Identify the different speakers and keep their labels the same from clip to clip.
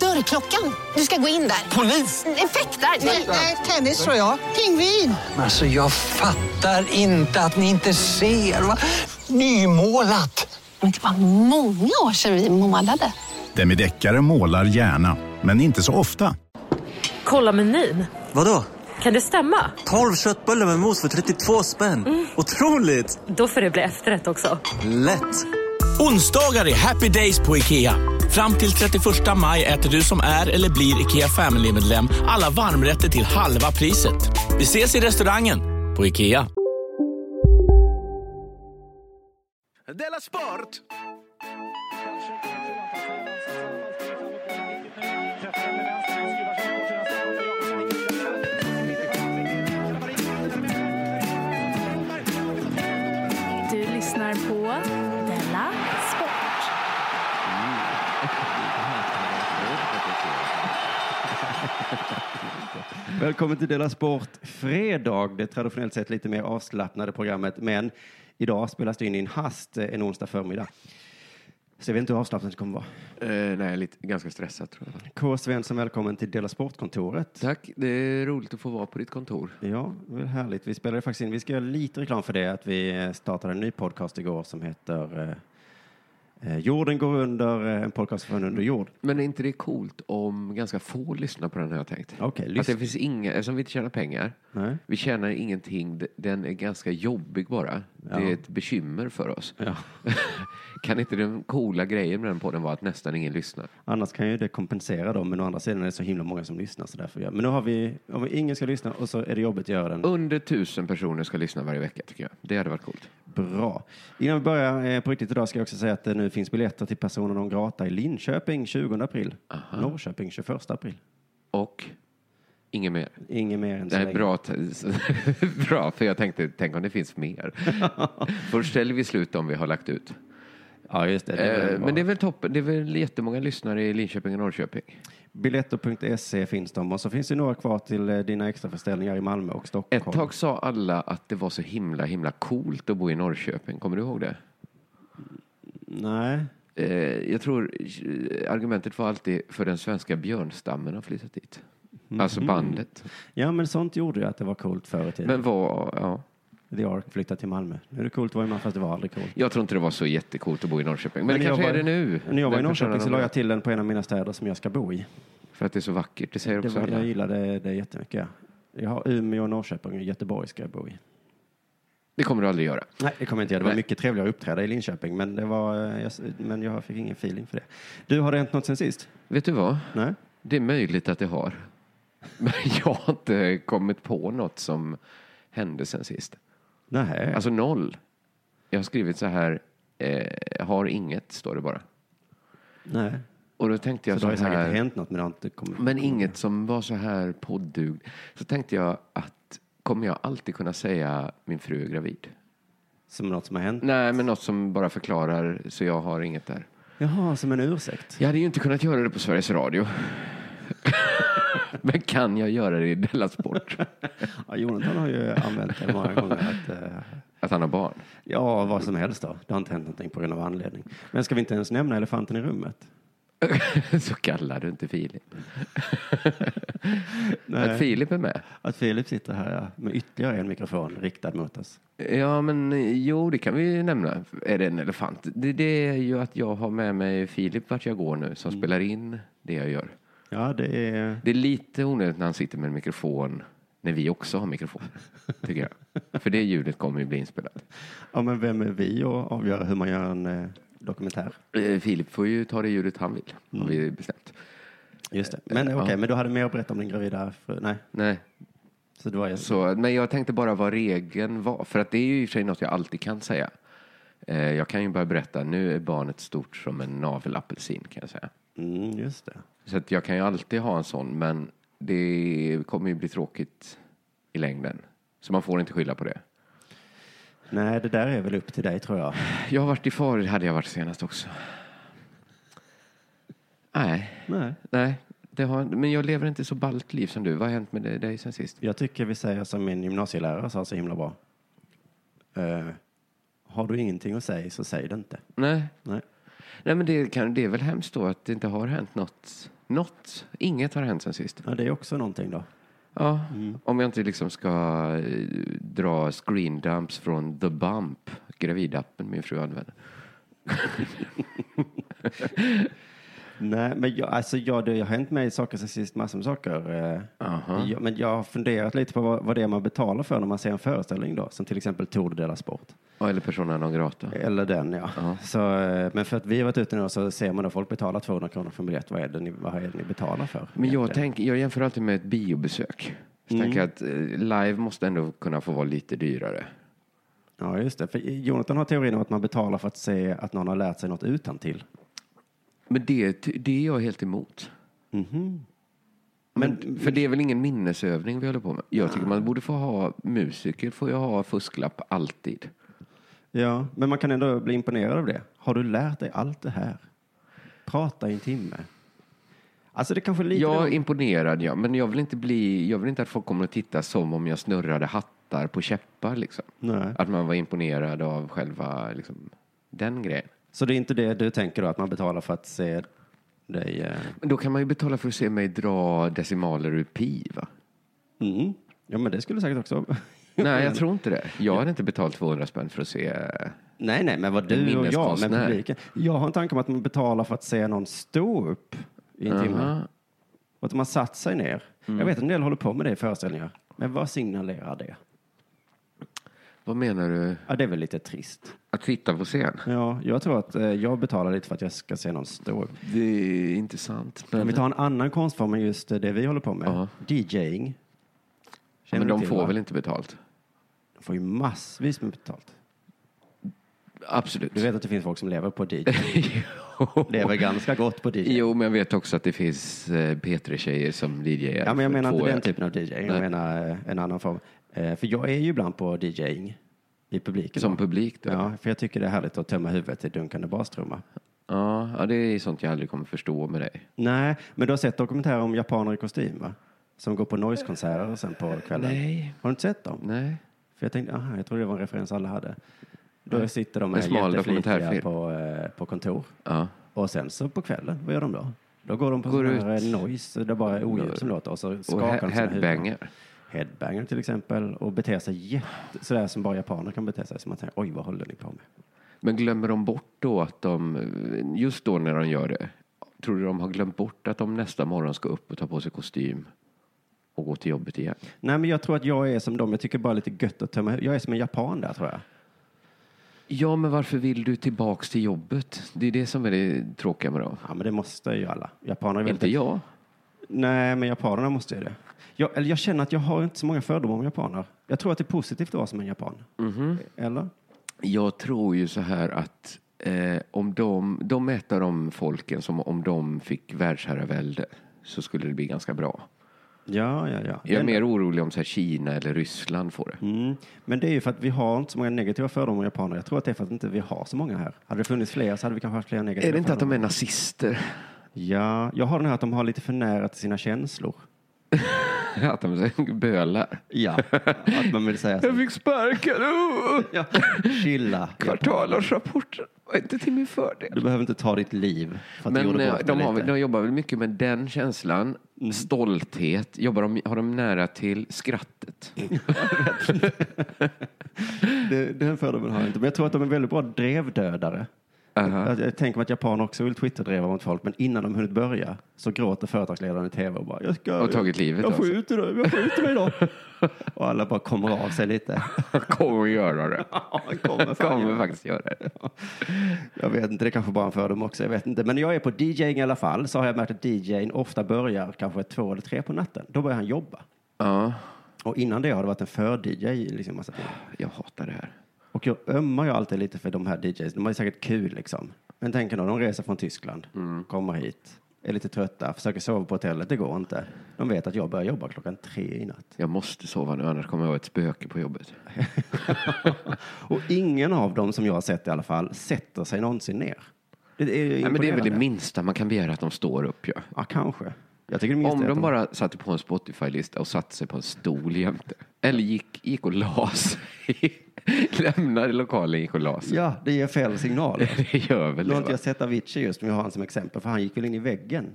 Speaker 1: Dörrklockan. Du ska gå in där. Polis? Effektar? Nej, tennis tror jag. Pingvin.
Speaker 2: Alltså jag fattar inte att ni inte ser. Va? Nymålat!
Speaker 3: Men det var många år sedan vi målade.
Speaker 4: Demideckare målar gärna, men inte så ofta.
Speaker 5: Kolla menyn.
Speaker 6: Vadå?
Speaker 5: Kan det stämma?
Speaker 6: 12 köttbullar med mos för 32 spänn. Otroligt!
Speaker 5: Mm. Då får det bli efterrätt också.
Speaker 6: Lätt!
Speaker 7: Onsdagar är happy days på IKEA. Fram till 31 maj äter du som är eller blir IKEA Family-medlem alla varmrätter till halva priset. Vi ses i restaurangen på IKEA.
Speaker 8: Della Sport!
Speaker 9: Du lyssnar på Della Sport.
Speaker 10: Välkommen till Dela Sport Fredag, det traditionellt sett lite mer avslappnade programmet, men idag spelas det in i en hast eh, en onsdag förmiddag. Så jag vet inte hur avslappnat det kommer vara.
Speaker 11: Eh, nej, lite, ganska stressad tror jag.
Speaker 10: K. Svensson, välkommen till Dela Sport-kontoret.
Speaker 11: Tack, det är roligt att få vara på ditt kontor.
Speaker 10: Ja, det är härligt. Vi spelade faktiskt in, vi ska göra lite reklam för det, att vi eh, startade en ny podcast igår som heter eh, eh, Jorden går under, eh, en podcast från under jord.
Speaker 11: Men är inte det coolt om ganska få lyssnar på den här jag tänkt?
Speaker 10: Okej,
Speaker 11: Att det
Speaker 10: lyssna.
Speaker 11: finns inga, eftersom vi inte tjänar pengar,
Speaker 10: Nej.
Speaker 11: vi tjänar ingenting, d- den är ganska jobbig bara. Det
Speaker 10: Ja.
Speaker 11: är ett bekymmer för oss.
Speaker 10: Ja.
Speaker 11: kan inte den coola grejen med den podden vara att nästan ingen lyssnar?
Speaker 10: Annars kan ju det kompensera dem, men å andra sidan är det så himla många som lyssnar. Så därför gör. Men nu har vi, om ingen ska lyssna och så är det jobbigt att göra den.
Speaker 11: Under tusen personer ska lyssna varje vecka tycker jag. Det hade varit coolt.
Speaker 10: Bra. Innan vi börjar eh, på riktigt idag ska jag också säga att det nu finns biljetter till personer non grata i Linköping 20 april, Norrköping 21 april.
Speaker 11: Och inget mer.
Speaker 10: Inget mer än så
Speaker 11: Nej,
Speaker 10: länge.
Speaker 11: bra, t- bra, för jag tänkte, tänk om det finns mer. Först ställer vi slut om vi har lagt ut.
Speaker 10: Ja, just det. det är
Speaker 11: Eh,
Speaker 10: bra.
Speaker 11: men det är väl toppen, det är väl jättemånga lyssnare i Linköping och Norrköping.
Speaker 10: Biljetter.se E finns de och så finns det några kvar till eh, dina extraförställningar i Malmö och
Speaker 11: Ett
Speaker 10: Stockholm.
Speaker 11: tag sa alla att det var så himla, himla coolt att bo i Norrköping. Kommer du ihåg det?
Speaker 10: Nej.
Speaker 11: Eh, jag tror eh, argumentet var alltid för den svenska björnstammen har flyttat dit. Alltså bandet.
Speaker 10: Mhm. Ja, men sånt gjorde ju att det var coolt förr i tiden.
Speaker 11: Men var, ja.
Speaker 10: The Ark flyttade till Malmö. Nu är det coolt att vara i Malmö, fast det var aldrig coolt.
Speaker 11: Jag tror inte det var så jättecoolt att bo i Norrköping. Men, det
Speaker 10: när jag
Speaker 11: kanske
Speaker 10: var-
Speaker 11: är det nu.
Speaker 10: När jag var i
Speaker 11: Den personen
Speaker 10: Norrköping så la
Speaker 11: har-
Speaker 10: jag till den på en av mina städer som jag ska bo i.
Speaker 11: För att det är så vackert, det säger
Speaker 10: Det
Speaker 11: också
Speaker 10: var, jag
Speaker 11: alla.
Speaker 10: gillade det jättemycket. Jag har Umeå, Norrköping och Göteborg ska jag bo i.
Speaker 11: Det kommer du aldrig göra.
Speaker 10: Nej, det kommer jag inte göra. Det var
Speaker 11: Nej.
Speaker 10: mycket trevligare att uppträda i Linköping, men, det var, eh, jag, men jag fick ingen feeling för det. Du, har det hänt något sen sist?
Speaker 11: Vet du vad?
Speaker 10: Nej?
Speaker 11: Det är möjligt att det har. Men jag har inte kommit på något som hände sen sist.
Speaker 10: Nej.
Speaker 11: Alltså noll. Jag har skrivit så här, eh, har inget, står det bara.
Speaker 10: nej.
Speaker 11: Och då tänkte
Speaker 10: Så
Speaker 11: jag
Speaker 10: det
Speaker 11: så,
Speaker 10: har ju säkert
Speaker 11: här,
Speaker 10: hänt något, men det har inte kommit.
Speaker 11: men inget som var så här poddug. Så tänkte jag att kommer jag alltid kunna säga min fru är gravid?
Speaker 10: Som något som har hänt?
Speaker 11: Nej, men något som bara förklarar så jag har inget där.
Speaker 10: Jaha, som en ursäkt?
Speaker 11: Jag hade ju inte kunnat göra det på Sveriges Radio. men kan jag göra det i Della Sport?
Speaker 10: Ja, Jonathan har ju använt det många gånger. Att, eh,
Speaker 11: Att han har barn?
Speaker 10: ja, vad som helst då. Det har inte hänt någonting på grund av anledning. Men ska vi inte ens nämna elefanten i rummet?
Speaker 11: Så kallar du inte Filip. Att Filip är med?
Speaker 10: Att Filip sitter här ja, med ytterligare en mikrofon riktad mot oss.
Speaker 11: Ja, men eh, jo, det kan vi ju nämna. Är det en elefant? Det, det är ju att jag har med mig Filip vart jag går nu, som
Speaker 10: Mm.
Speaker 11: spelar in det jag gör.
Speaker 10: Ja, det är...
Speaker 11: Det är lite onödigt när han sitter med en mikrofon, när vi också har mikrofon, tycker jag. För det ljudet kommer ju bli inspelat.
Speaker 10: Ja, men vem är vi att avgöra hur man gör en eh, dokumentär? Mm.
Speaker 11: Eh, Filip får ju ta det ljudet han vill, har vi bestämt. Eh,
Speaker 10: Just det. Men okej, men du hade mer att berätta om din gravida fru? Nej,
Speaker 11: Nej,
Speaker 10: så det var jag.
Speaker 11: Så, men jag tänkte bara vad regeln var. För att det är ju i och för sig något jag alltid kan säga. Eh, jag kan ju bara berätta, nu är barnet stort som en navelapelsin kan jag säga.
Speaker 10: Mm, just det.
Speaker 11: Så att jag kan ju alltid ha en sån, men det kommer ju bli tråkigt i längden. Så man får inte skylla på det.
Speaker 7: Nej, det där är väl upp till dig tror jag.
Speaker 11: Jag har varit i far, hade jag varit senast också. Nej.
Speaker 7: Nej.
Speaker 11: Nej. Det har, men jag lever inte så ballt liv som du. Vad har hänt med dig- dig sen sist?
Speaker 7: Jag tycker vi säger som min gymnasielärare sa så himla bra. Eh, har du ingenting att säga så säg det inte.
Speaker 11: Nej.
Speaker 7: Nej.
Speaker 11: Nej, men det, kan, det är väl hemskt då att det inte har hänt något. Något. Inget har hänt sen sist.
Speaker 7: Ja, det är också någonting då. Mm.
Speaker 11: Ja, om jag inte liksom ska eh, dra screen dumps från The Bump, gravidappen min fru använder.
Speaker 7: Nej, men jag, alltså jag, det har hänt mig saker sen sist, massor med saker. Eh, jag, men jag har funderat lite på vad, vad det är man betalar för när man ser en föreställning då, som till exempel Tour de la Sport.
Speaker 11: Ja, eller Persona non grata.
Speaker 7: Eller den ja. Så, eh, men för att vi har varit ute nu så ser man att folk betalar 200 kronor för en biljett. Vad är det ni, vad är det ni betalar för?
Speaker 11: Men jag, tänker, jag jämför alltid med ett biobesök. Så
Speaker 7: Mm.
Speaker 11: tänker jag att eh, live måste ändå kunna få vara lite dyrare.
Speaker 7: Ja, just det. För Jonathan har teorin om att man betalar för att se att någon har lärt sig något utan till.
Speaker 11: Men det, det är jag helt emot.
Speaker 7: Mhm.
Speaker 11: Men, för det är väl ingen minnesövning vi håller på med? Jag tycker man borde få ha, musiker får ju ha fusklapp alltid.
Speaker 7: Ja, men man kan ändå bli imponerad av det. Har du lärt dig allt det här? Prata i en timme. Alltså det kanske är lite...
Speaker 11: Jag är imponerad, ja. Men jag vill, inte bli, jag vill inte att folk kommer att titta som om jag snurrade hattar på käppar. Liksom.
Speaker 7: Nej.
Speaker 11: Att man var imponerad av själva liksom, den grejen.
Speaker 7: Så det är inte det du tänker då, att man betalar för att se dig... eh,
Speaker 11: Men då kan man ju betala för att se mig dra decimaler ur pi, va?
Speaker 7: Mm. Ja, men det skulle säkert också...
Speaker 11: Nej, jag tror inte det. Jag hade inte betalt 200 spänn för att se...
Speaker 7: Nej, nej, men vad
Speaker 11: En
Speaker 7: du och jag, men
Speaker 11: minneskonstnär.
Speaker 7: publiken. Jag har en tanke om att man betalar för att se någon stå upp i en timme.
Speaker 11: Aha.
Speaker 7: Och att man satt sig ner. Jag vet att en del håller på med det i föreställningar. Men vad signalerar det?
Speaker 11: Vad menar du?
Speaker 7: Ja, det är väl lite trist.
Speaker 11: Att sitta på scen?
Speaker 7: Ja, jag tror att eh, jag betalar lite för att jag ska se någon stå upp.
Speaker 11: Det är inte sant.
Speaker 7: Om
Speaker 11: Men,
Speaker 7: vi tar en annan konstform än just eh, det vi håller på med.
Speaker 11: Ja.
Speaker 7: DJing. Känner
Speaker 11: men
Speaker 7: du
Speaker 11: de
Speaker 7: till,
Speaker 11: får
Speaker 7: va?
Speaker 11: väl inte betalt?
Speaker 7: De får ju massvis med betalt.
Speaker 11: Absolut.
Speaker 7: Du vet att det finns folk som lever på DJ. lever ganska gott på DJ.
Speaker 11: Jo, men jag vet också att det finns eh, P3-tjejer som DJar.
Speaker 7: Ja, men jag
Speaker 11: för
Speaker 7: menar
Speaker 11: två
Speaker 7: inte den
Speaker 11: öre.
Speaker 7: typen av DJ. Jag
Speaker 11: Nej.
Speaker 7: menar eh, en annan form. Eh, För jag är ju ibland på DJing i publiken.
Speaker 11: Som publik då?
Speaker 7: Ja, för jag tycker det är härligt att tömma huvudet i dunkande bastrumma.
Speaker 11: Ja, ja, det är sånt jag aldrig kommer förstå med dig.
Speaker 7: Nej, men du har sett dokumentärer om japaner i kostym, va? Som går på noise-konserter sen på kvällen.
Speaker 11: Nej.
Speaker 7: Har du inte sett dem?
Speaker 11: Nej.
Speaker 7: För jag tänkte, aha, jag trodde det var en referens alla hade. Då sitter de
Speaker 11: En
Speaker 7: här
Speaker 11: smal
Speaker 7: jätteflitiga
Speaker 11: dokumentärfilm.
Speaker 7: på, eh, på kontor.
Speaker 11: Ja.
Speaker 7: Och sen så på kvällen, vad gör de då? Då går de på
Speaker 11: Går
Speaker 7: sån här
Speaker 11: ut.
Speaker 7: eh, noise, det är bara oljud som låter. Och så skakar
Speaker 11: Och
Speaker 7: de
Speaker 11: he-
Speaker 7: sina huvuden.
Speaker 11: headbanger.
Speaker 7: Headbanger till exempel. Och beter sig jätte, sådär som bara japaner kan bete sig. Som man tänker, oj vad håller ni på med?
Speaker 11: Men glömmer de bort då att de, just då när de gör det, tror du de har glömt bort att de nästa morgon ska upp och ta på sig kostym och gå till jobbet igen?
Speaker 7: Nej men jag tror att jag är som dem, jag tycker bara lite gött att tömma huvudet. Jag är som en japan där tror jag.
Speaker 11: Ja, men varför vill du tillbaks till jobbet? Det är det som är det tråkiga med dem.
Speaker 7: Ja typ. men det måste ju alla. Japaner är väldigt...
Speaker 11: Inte jag.
Speaker 7: Nej men japanerna måste ju det. Jag, eller jag känner att jag har inte så många fördomar om japaner. Jag tror att det är positivt att vara som en japan.
Speaker 11: Mhm.
Speaker 7: Eller?
Speaker 11: Jag tror ju så här att eh, om de, de är ett av de folken som om de fick världsherravälde så skulle det bli ganska bra.
Speaker 7: Ja, ja, ja.
Speaker 11: Jag är
Speaker 7: Men-
Speaker 11: mer orolig om så här Kina eller Ryssland får det.
Speaker 7: Mm. Men det är ju för att vi har inte så många negativa fördomar om japaner. Jag tror att det är för att inte vi har så många här. Hade det funnits fler så hade vi kanske haft fler negativa
Speaker 11: Är det inte att de är
Speaker 7: fördomar.
Speaker 11: nazister?
Speaker 7: Ja, jag har den här att de har lite för nära till sina känslor.
Speaker 11: Att de bölar?
Speaker 7: Ja, att man vill säga
Speaker 11: Jag
Speaker 7: så.
Speaker 11: fick sparken! Oh!
Speaker 7: Ja, chilla.
Speaker 11: Kvartalårsrapporten var inte till min fördel.
Speaker 7: Du behöver inte ta ditt liv för att du
Speaker 11: Men
Speaker 7: gjorde
Speaker 11: eh,
Speaker 7: bort
Speaker 11: de,
Speaker 7: dig
Speaker 11: har, väl-
Speaker 7: lite. Mm.
Speaker 11: de jobbar väl mycket med den känslan, stolthet, jobbar de, har de nära till skrattet.
Speaker 7: Mm. Det- Den fördomen har jag inte. Men jag tror att de är väldigt bra drevdödare.
Speaker 11: Aha.
Speaker 7: Jag, jag tänker mig att japaner också vill twitterdreva mot folk, men innan de hunnit börja så gråter företagsledaren i tv och bara jag ska,
Speaker 11: Och tagit livet
Speaker 7: jag,
Speaker 11: av
Speaker 7: jag
Speaker 11: sig."
Speaker 7: skjuter dig, jag skjuter mig då. och alla bara kommer av sig lite.
Speaker 11: Kommer att göra det.
Speaker 7: Ja, han kommer fan
Speaker 11: Kommer
Speaker 7: göra
Speaker 11: faktiskt göra det.
Speaker 7: Jag vet inte, det kanske bara är en fördom också. Jag vet inte. Men jag är på DJing i alla fall. Så har jag märkt att DJing ofta börjar kanske två eller tre på natten. Då börjar han jobba.
Speaker 11: Ja,
Speaker 7: Och innan det har det varit en för-DJ liksom massa timmar.
Speaker 11: jag hatar det här.
Speaker 7: Och jag ömmar ju alltid lite för de här DJs. De har ju säkert kul liksom. Men tänk då, de reser från Tyskland,
Speaker 11: Mm.
Speaker 7: kommer hit, är lite trötta, försöker sova på hotellet. Det går inte. De vet att jag börjar jobba klockan tre i natt.
Speaker 11: Jag måste sova nu, annars kommer jag vara ett spöke på jobbet.
Speaker 7: Och ingen av dem, som jag har sett i alla fall, sätter sig någonsin ner. Det är, ju
Speaker 11: Nej, men det är väl det
Speaker 7: imponerande.
Speaker 11: minsta man kan begära att de står upp. Ja,
Speaker 7: ja kanske. Jag tycker det minsta är
Speaker 11: Om
Speaker 7: att
Speaker 11: de
Speaker 7: de-
Speaker 11: bara satte på en Spotify-lista och satte sig på en stol jämte. Eller gick, gick och la sig. Lämnade lokalen, gick och la sig.
Speaker 7: Ja, det ger fel signaler.
Speaker 11: Det gör väl
Speaker 7: Nu har
Speaker 11: det.
Speaker 7: inte
Speaker 11: Va?
Speaker 7: jag sett Avicii just, men jag har han som exempel, för han gick väl in i väggen.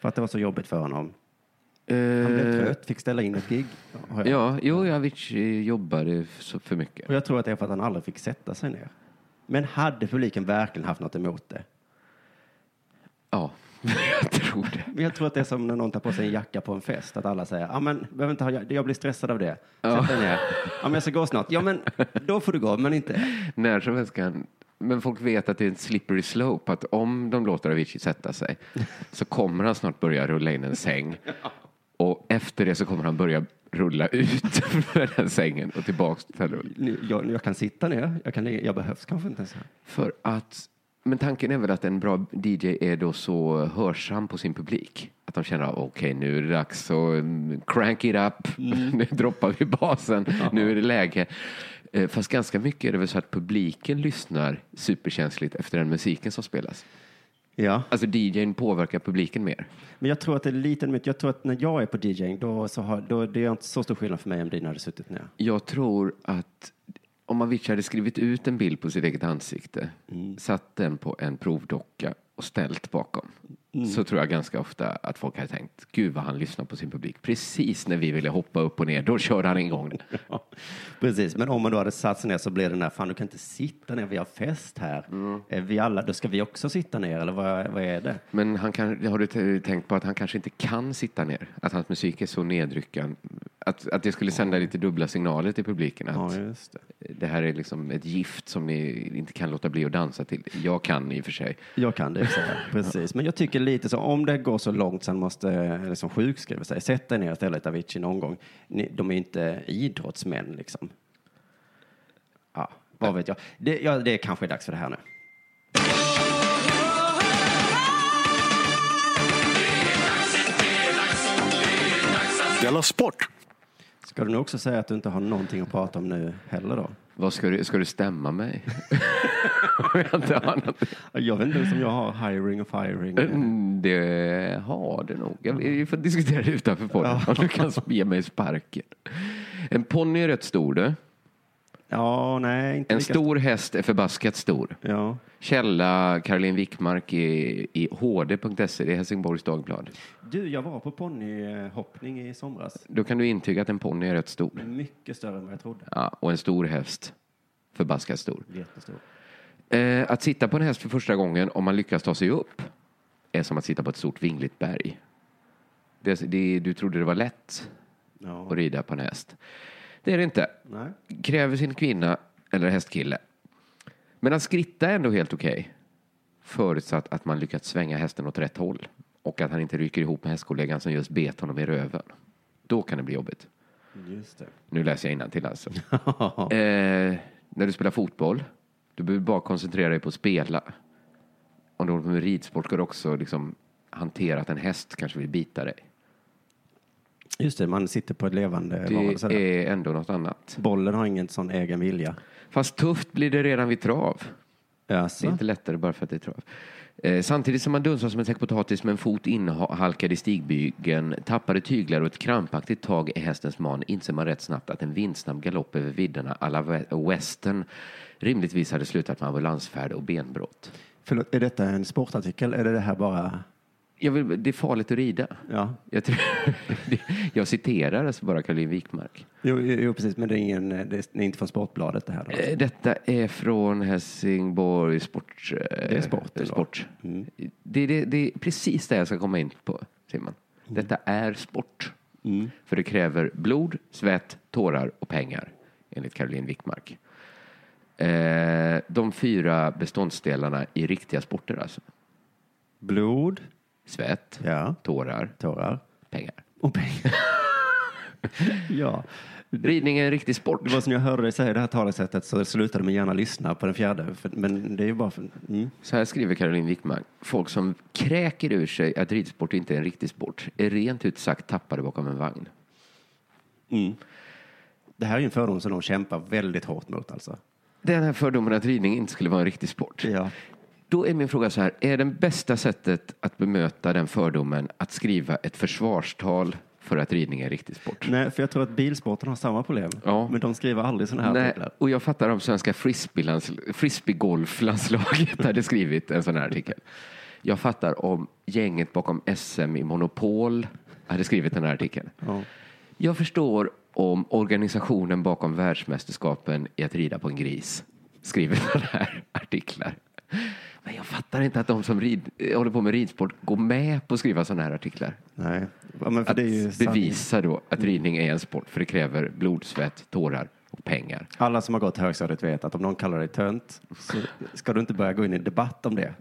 Speaker 7: För att det var så jobbigt för honom. Han
Speaker 11: Eh.
Speaker 7: blev trött, fick ställa in ett gig. har jag.
Speaker 11: Ja, jo, ja, Avicii jobbade f- så- för mycket.
Speaker 7: Och jag tror att det är för att han aldrig fick sätta sig ner. Men hade publiken verkligen haft något emot det?
Speaker 11: Ja, jag tror det.
Speaker 7: Men jag tror att det är som när någon tar på sig en jacka på en fest, att alla säger, ja men behöver inte ha, jag jag blir stressad av det. Sätt
Speaker 11: Ja.
Speaker 7: dig ner. Ja men jag ska gå snart. Ja men då får du gå, men inte.
Speaker 11: När som helst kan... Men folk vet att det är en slippery slope, att om de låter Avicii sätta sig så kommer han snart börja rulla in en säng. Och efter det så kommer han börja rulla ut från den sängen och tillbaks till rull.
Speaker 7: Nu- Jag, jag kan sitta ner, jag, kan, ligga- jag behövs kanske inte ens. här.
Speaker 11: För att... Men tanken är väl att en bra DJ är då så hörsam på sin publik. Att de känner, okej nu är det dags så mm, crank it up, nu droppar vi basen, nu är det läge. Eh, Fast ganska mycket är det väl så att publiken lyssnar superkänsligt efter den musiken som spelas.
Speaker 7: Ja.
Speaker 11: Alltså DJn påverkar publiken mer.
Speaker 7: Men jag tror att det är lite mycket. Jag tror att när jag är på DJing, då, så har, då det är inte så stor skillnad för mig om dina hade suttit ner.
Speaker 11: Jag tror att om Avicii hade skrivit ut en bild på sitt eget ansikte,
Speaker 7: Mm.
Speaker 11: satt den på en provdocka och ställt bakom,
Speaker 7: Mm.
Speaker 11: så tror jag ganska ofta att folk hade tänkt, gud vad han lyssnar på sin publik. Precis när vi ville hoppa upp och ner, då körde han igång det.
Speaker 7: Ja, precis, men om man då hade satt sig ner så blir det den här, fan du kan inte sitta ner, vi har fest här. Är vi alla, då ska vi också sitta ner, eller vad, vad är det?
Speaker 11: Men han kan, har du t- tänkt på att han kanske inte kan sitta ner? Att hans musik är så nedryckande? Att, att det skulle sända lite dubbla signaler till publiken? Att
Speaker 7: Ja, just det.
Speaker 11: det här är liksom ett gift som ni inte kan låta bli att dansa till. Jag kan i och för sig.
Speaker 7: Jag kan det, så här. precis. Men jag tycker lite så, om det går så långt så han måste eh, liksom sjukskriva sig, sätt dig ner istället Avicii någon gång. Ni, de är ju inte idrottsmän liksom. Ja, vad vet jag. Det, ja, det kanske är dags för det här nu.
Speaker 8: Della Sport!
Speaker 7: Ska du nu också säga att du inte har någonting att prata om nu heller då?
Speaker 11: Vad ska du, ska du stämma mig? Om jag inte har något.
Speaker 7: Jag vet inte om jag har hiring och firing.
Speaker 11: Mm, Det har du nog. Jag, vi får diskutera det utanför podden. Om du kan ge mig sparken. En ponny är rätt stor du.
Speaker 7: Ja, nej, inte
Speaker 11: En
Speaker 7: lika-
Speaker 11: stor häst är förbaskat stor.
Speaker 7: Ja.
Speaker 11: Källa Caroline Wickmark i, i hd.se, E, det är Helsingborgs Dagblad.
Speaker 7: Du, jag var på ponnyhoppning i somras.
Speaker 11: Då kan du intyga att en ponny är rätt stor.
Speaker 7: Mycket större än vad jag trodde.
Speaker 11: Ja, och en stor häst, förbaskat stor.
Speaker 7: Jättestor.
Speaker 11: Eh, att sitta på en häst för första gången, om man lyckas ta sig upp, är som att sitta på ett stort vingligt berg. Det, det, du trodde det var lätt
Speaker 7: Ja.
Speaker 11: att rida på en häst. Det är det inte.
Speaker 7: Nej.
Speaker 11: Kräver sin kvinna eller hästkille. Men att skritta är ändå helt okej. Förutsatt att man lyckats svänga hästen åt rätt håll. Och att han inte ryker ihop med hästkollegan som just bet honom i röven. Då kan det bli jobbigt.
Speaker 7: Just det.
Speaker 11: Nu läser jag innantill alltså. eh, när du spelar fotboll, du behöver bara koncentrera dig på att spela. Om du håller på med ridsport ska du också liksom hantera att en häst kanske vill bita dig.
Speaker 7: Just det, man sitter på ett levande... vad man
Speaker 11: Det
Speaker 7: säger.
Speaker 11: är ändå något annat.
Speaker 7: Bollen har ingen sån egen vilja.
Speaker 11: Fast tufft blir det redan vid trav. Det är
Speaker 7: Jaså?
Speaker 11: inte lättare bara för att det är trav. Eh, samtidigt som man dunsar som en säck potatis med en fot inhalkad i stigbygeln, tappade tyglar och ett krampaktigt tag i hästens man inser man rätt snabbt att en vindsnabb galopp över vidderna alla western rimligtvis hade slutat med ambulansfärd och benbrott.
Speaker 7: Förlåt, är detta en sportartikel? Är det det här bara...
Speaker 11: Jag vill, det är farligt att rida.
Speaker 7: Ja.
Speaker 11: Jag, tror, jag citerar alltså bara Caroline Wikmark.
Speaker 7: Jo, jo, jo, precis, men det är, ingen, det är inte från Sportbladet det här då?
Speaker 11: Eh, Detta är från Helsingborg sport. Det
Speaker 7: är sport, eller? Mm.
Speaker 11: sport. Det, det, det är precis det jag ska komma in på, Simon.
Speaker 7: Mm.
Speaker 11: Detta är sport. För det kräver blod, svett, tårar och pengar, enligt Caroline Wickmark. Eh, de fyra beståndsdelarna i riktiga sporter alltså.
Speaker 7: Blod,
Speaker 11: Svett,
Speaker 7: ja,
Speaker 11: tårar,
Speaker 7: tårar
Speaker 11: pengar.
Speaker 7: och pengar. ja.
Speaker 11: Ridning är en riktig sport.
Speaker 7: Det var som jag hörde dig säga i det här talesättet så slutade man gärna lyssna på den fjärde. För, men det är ju bara för... Mm.
Speaker 11: Så här skriver Caroline Wickman. Folk som kräker ur sig att ridsport inte är en riktig sport är rent ut sagt tappade bakom en vagn.
Speaker 7: Det här är ju en fördom som de kämpar väldigt hårt mot alltså.
Speaker 11: Den här fördomen att ridning inte skulle vara en riktig sport. Då är min fråga så här, är det bästa sättet att bemöta den fördomen att skriva ett försvarstal för att ridning är en riktig sport?
Speaker 7: Nej, för jag tror att bilsporten har samma problem. Men de skriver aldrig sådana här
Speaker 11: Nej,
Speaker 7: artiklar.
Speaker 11: och jag fattar om svenska frisbeelands- frisbeegolflandslaget hade skrivit en sån här artikel. Jag fattar om gänget bakom SM i Monopol hade skrivit den här artikeln. Jag förstår om organisationen bakom världsmästerskapen i att rida på en gris skriver sådana här artiklar. Men jag fattar inte att de som rid, eh, håller på med ridsport går med på att skriva sådana här artiklar.
Speaker 7: Nej. Ja, men för
Speaker 11: att
Speaker 7: det är ju sanning. Mm.
Speaker 11: bevisa då att ridning är en sport för det kräver blod, svett, tårar och pengar.
Speaker 7: Alla som har gått högstadiet vet att om någon kallar dig tönt så ska du inte börja gå in i debatt om det.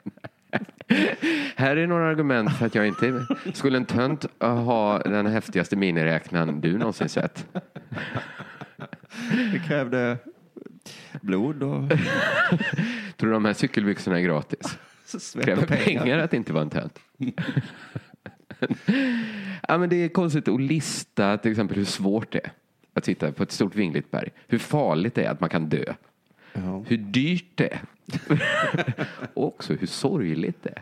Speaker 11: Här är några argument för att jag inte är med. Skulle en tönt äh, ha den häftigaste miniräknaren du någonsin sett?
Speaker 7: Det krävde blod och...
Speaker 11: Tror du de här cykelbyxorna är gratis?
Speaker 7: Svett
Speaker 11: kräver
Speaker 7: och pengar.
Speaker 11: pengar att inte vara en tönt. ja, men det är konstigt att lista till exempel hur svårt det är att sitta på ett stort vingligt berg. Hur farligt det är att man kan dö. Hur dyrt det är. och också hur sorgligt det är.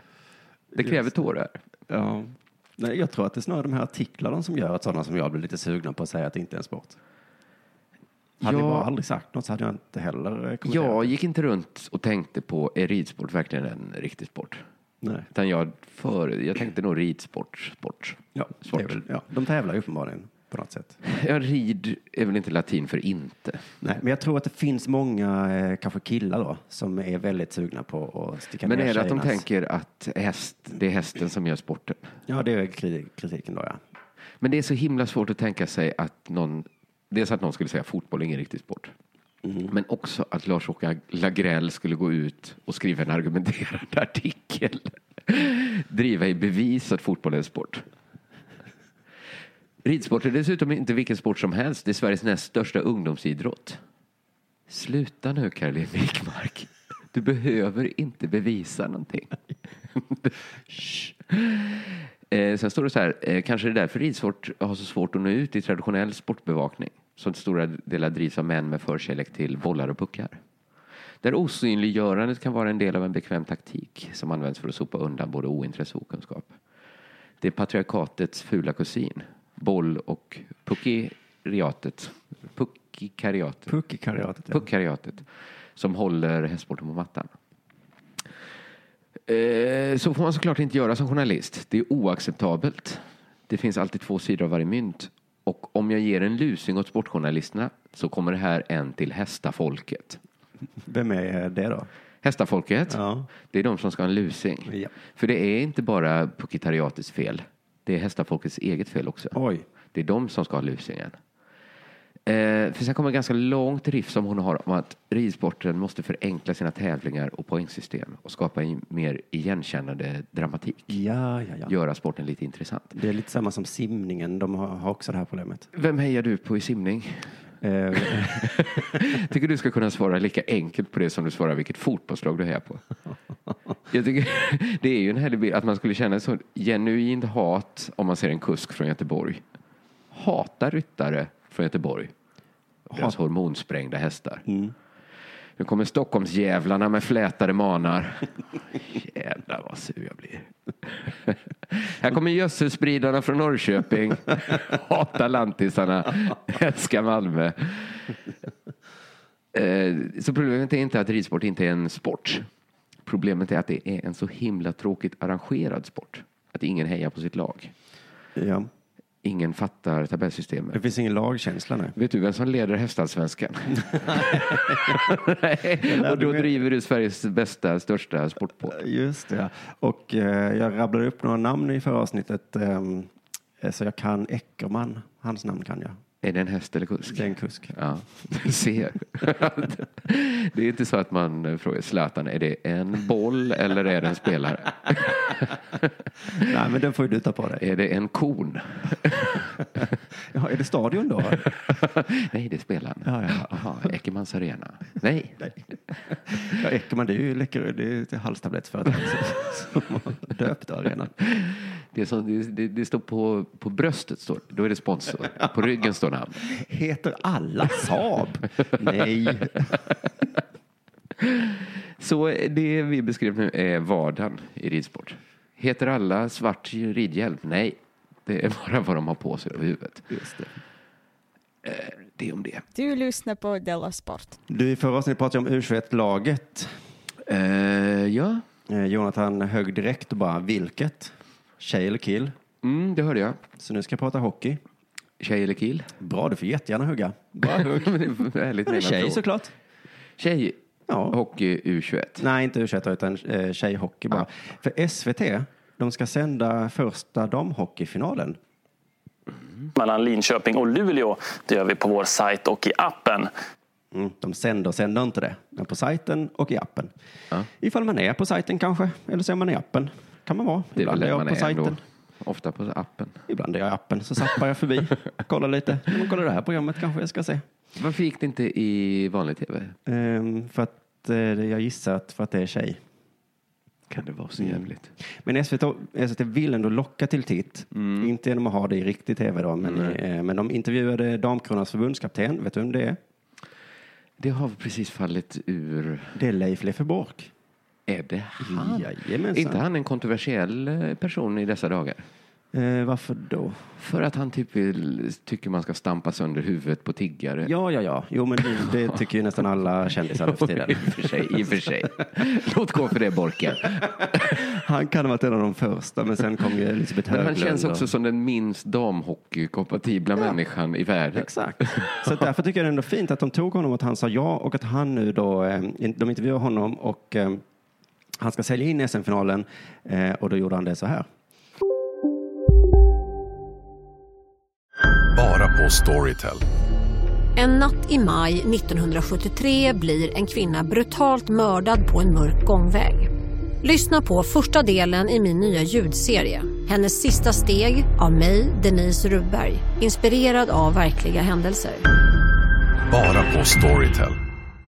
Speaker 11: Det kräver tårar.
Speaker 7: Ja. Nej, jag tror att det är snarare de här artiklarna som gör att sådana som jag blir lite sugna på att säga att det inte är en sport. Hade
Speaker 11: Ja.
Speaker 7: jag bara aldrig sagt något så hade jag inte heller eh, kommenterat.
Speaker 11: Jag gick inte runt och tänkte på, är ridsport verkligen en riktig sport?
Speaker 7: Nej.
Speaker 11: Utan jag, för, jag tänkte nog ridsport, sport,
Speaker 7: Ja,
Speaker 11: sport.
Speaker 7: det är väl, ja, de tävlar ju uppenbarligen på något sätt.
Speaker 11: Ja, rid är väl inte latin för inte.
Speaker 7: Nej, men jag tror att det finns många, eh, kanske killar då, som är väldigt sugna på att sticka
Speaker 11: Men
Speaker 7: ner
Speaker 11: är det att de
Speaker 7: tjejernas-
Speaker 11: tänker att häst, det är hästen som gör sporten?
Speaker 7: Ja, det är kriti- kritiken då, ja.
Speaker 11: Men det är så himla svårt att tänka sig att någon, dels att någon skulle säga fotboll är ingen riktig sport. Men också att Lars-Åke Lagrell skulle gå ut och skriva en argumenterande artikel. Driva i bevis att fotboll är en sport. Ridsport är dessutom inte vilken sport som helst. Det är Sveriges näst största ungdomsidrott. Sluta nu Caroline Wikmark. Du behöver inte bevisa någonting. Eh, sen står det så här, eh, kanske det är därför ridsport har så svårt att nå ut i traditionell sportbevakning som till stora delar drivs av män med förkärlek till bollar och puckar. Där osynliggörandet kan vara en del av en bekväm taktik som används för att sopa undan både ointresse och okunskap. Det är patriarkatets fula kusin, boll och puckiriatet. Puckikariatet.
Speaker 7: Puckikariatet, ja.
Speaker 11: Puckikariatet. Som håller hästsporten på mattan. Eh, Så får man såklart inte göra som journalist. Det är oacceptabelt. Det finns alltid två sidor av varje mynt. Och om jag ger en lusing åt sportjournalisterna så kommer det här en till hästafolket.
Speaker 7: Vem är eh, det då?
Speaker 11: Hästafolket, det är de som ska ha en lusing. För det är inte bara puckitariatets fel. Det är hästafolkets eget fel också. Det är de som ska ha lusingen. Eh, för sen kommer en ganska långt riff som hon har om att ridsporten måste förenkla sina tävlingar och poängsystem och skapa en mer igenkännande dramatik.
Speaker 7: Ja, ja, ja.
Speaker 11: Göra sporten lite intressant.
Speaker 7: Det är lite samma som simningen, de har, har också det här problemet. Eh,
Speaker 11: Vem hejar du på i simning? tycker du ska kunna svara lika enkelt på det som du svarar vilket fotbollslag du hejar på. Jag tycker, det är ju en härlig bild att man skulle känna ett sånt genuint hat om man ser en kusk från Göteborg. Hata ryttare från Göteborg. Deras hormonsprängda hästar. Nu kommer Stockholmsjävlarna med flätade manar. Jävlar vad sur jag blir. Här kommer gödselspridarna från Norrköping. Hatar lantisarna. Älskar Malmö. Eh, Så problemet är inte att ridsport inte är en sport. Problemet är att det är en så himla tråkigt arrangerad sport. Att ingen hejar på sitt lag.
Speaker 7: Ja.
Speaker 11: Ingen fattar tabellsystemet.
Speaker 7: Det finns ingen lagkänsla nu.
Speaker 11: Vet du vem som leder hästallsvenskan? Nej. Och då driver du Sveriges bästa, största sportpodd.
Speaker 7: Just det. ja. Och eh, jag rabblade upp några namn i förra avsnittet. ehm, eh, så jag kan Eckerman, hans namn kan jag.
Speaker 11: Är det en häst eller kusk?
Speaker 7: Det är en kusk.
Speaker 11: Ja, du ser. det är inte så att man frågar Zlatan, är det en boll eller är det en spelare?
Speaker 7: Nej, men den får ju du ta på dig.
Speaker 11: Är det en kon?
Speaker 7: Ja, är det stadion då?
Speaker 11: Nej, det är spelaren.
Speaker 7: Ja, ja.
Speaker 11: Jaha, Eckermans arena. Nej.
Speaker 7: Ja, Eckerman, det är ju läcker, det är ett halstablettsföretag som- som har döpt arenan.
Speaker 11: Det, är som, det, det, det står på, på bröstet, står, då är det sponsor. På ryggen står namn.
Speaker 7: Heter alla Saab? Nej.
Speaker 11: Så det vi beskrev nu är vardagen i ridsport. Heter alla svart ridhjälm? Nej, det är bara vad de har på sig på huvudet.
Speaker 7: Just det.
Speaker 11: Eh, Det om det.
Speaker 12: Du lyssnar på Della Sport.
Speaker 7: Du, i förra avsnittet pratade jag om U21-laget. Eh,
Speaker 11: ja.
Speaker 7: Jonathan högg direkt och bara, vilket? Tjej eller kill?
Speaker 11: Mm, det hörde jag.
Speaker 7: Så nu ska jag prata hockey.
Speaker 11: Tjej eller kill?
Speaker 7: Bra, du får jättegärna hugga. Bra hugg.
Speaker 11: Men det är ärligt
Speaker 7: Men det är
Speaker 11: menat
Speaker 7: tjej
Speaker 11: fråga.
Speaker 7: såklart.
Speaker 11: Tjej, hockey U21.
Speaker 7: Nej, inte U21 utan eh, tjejhockey bara. För SVT, de ska sända första damhockeyfinalen.
Speaker 13: Mm. mellan Linköping och Luleå. Det gör vi på vår sajt och i appen.
Speaker 7: Mm, de sänder och sänder inte det. Men på sajten och i appen. Ifall man är på sajten kanske, eller så är man i appen. Kan man vara.
Speaker 11: Det är väl
Speaker 7: Ibland är
Speaker 11: det
Speaker 7: jag
Speaker 11: man
Speaker 7: på
Speaker 11: är
Speaker 7: sajten.
Speaker 11: ändå. Ofta på appen.
Speaker 7: Ibland är jag i appen, så zappar jag förbi. Kollar lite. Ja, men Kolla det här programmet kanske jag ska se.
Speaker 11: Varför gick det inte i vanlig tv?
Speaker 7: Ehm, för att eh, jag gissar att för att det är tjej.
Speaker 11: Kan det vara så
Speaker 7: Mm.
Speaker 11: jävligt?
Speaker 7: Men SVT, SVT vill ändå locka till titt.
Speaker 11: Mm.
Speaker 7: Inte genom att ha det i riktig tv då, men, eh, men de intervjuade Damkronans förbundskapten. Vet du vem det är?
Speaker 11: Det har precis fallit ur...
Speaker 7: Det är Leif Lefferborg.
Speaker 11: Är det han?
Speaker 7: Jajamensan.
Speaker 11: Är inte han en kontroversiell eh, person i dessa dagar?
Speaker 7: Eh, varför då?
Speaker 11: För att han typ vill, tycker man ska stampa sönder huvudet på tiggare.
Speaker 7: Ja, ja, ja. Jo, men det, det tycker ju nästan alla kändisar nu för tiden.
Speaker 11: I och för sig, i och för sig. Låt gå för det, Borken.
Speaker 7: Han kan ha varit en av de första, men sen kom ju Elisabeth
Speaker 11: Men han
Speaker 7: Höglund.
Speaker 11: känns också
Speaker 7: och-
Speaker 11: som den minst damhockeykompatibla människan i världen.
Speaker 7: Exakt. Så att därför tycker jag det är ändå fint att de tog honom, att han sa ja och att han nu då, eh, de intervjuar honom och eh, han ska sälja in SM-finalen eh, och då gjorde han det så här.
Speaker 14: Bara på Storytel.
Speaker 15: En natt i maj 1973 blir en kvinna brutalt mördad på en mörk gångväg. Lyssna på första delen i min nya ljudserie. Hennes sista steg av mig, Denise Rubberg. Inspirerad av verkliga händelser.
Speaker 14: Bara på Storytel.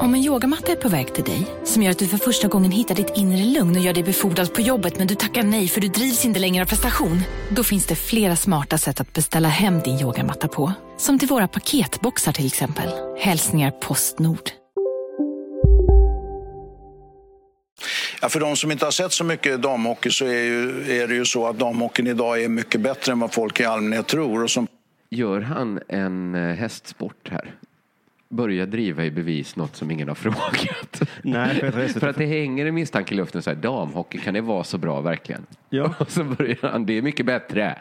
Speaker 16: Om en yogamatta är på väg till dig, som gör att du för första gången hittar ditt inre lugn och gör dig befordrad på jobbet men du tackar nej för du drivs inte längre av prestation. Då finns det flera smarta sätt att beställa hem din yogamatta på. Som till våra paketboxar till exempel. Hälsningar Postnord.
Speaker 8: Ja, för de som inte har sett så mycket damhockey så är, ju, är det ju så att damhockeyn idag är mycket bättre än vad folk i allmänhet tror. Och som
Speaker 11: Gör han en eh, hästsport här? Börja driva i bevis något som ingen har frågat.
Speaker 7: Nej, för jag tror SVT
Speaker 11: för att det hänger en misstanke i luften. Så här, damhockey, kan det vara så bra verkligen?
Speaker 7: Ja.
Speaker 11: Och så börjar han, det är mycket bättre.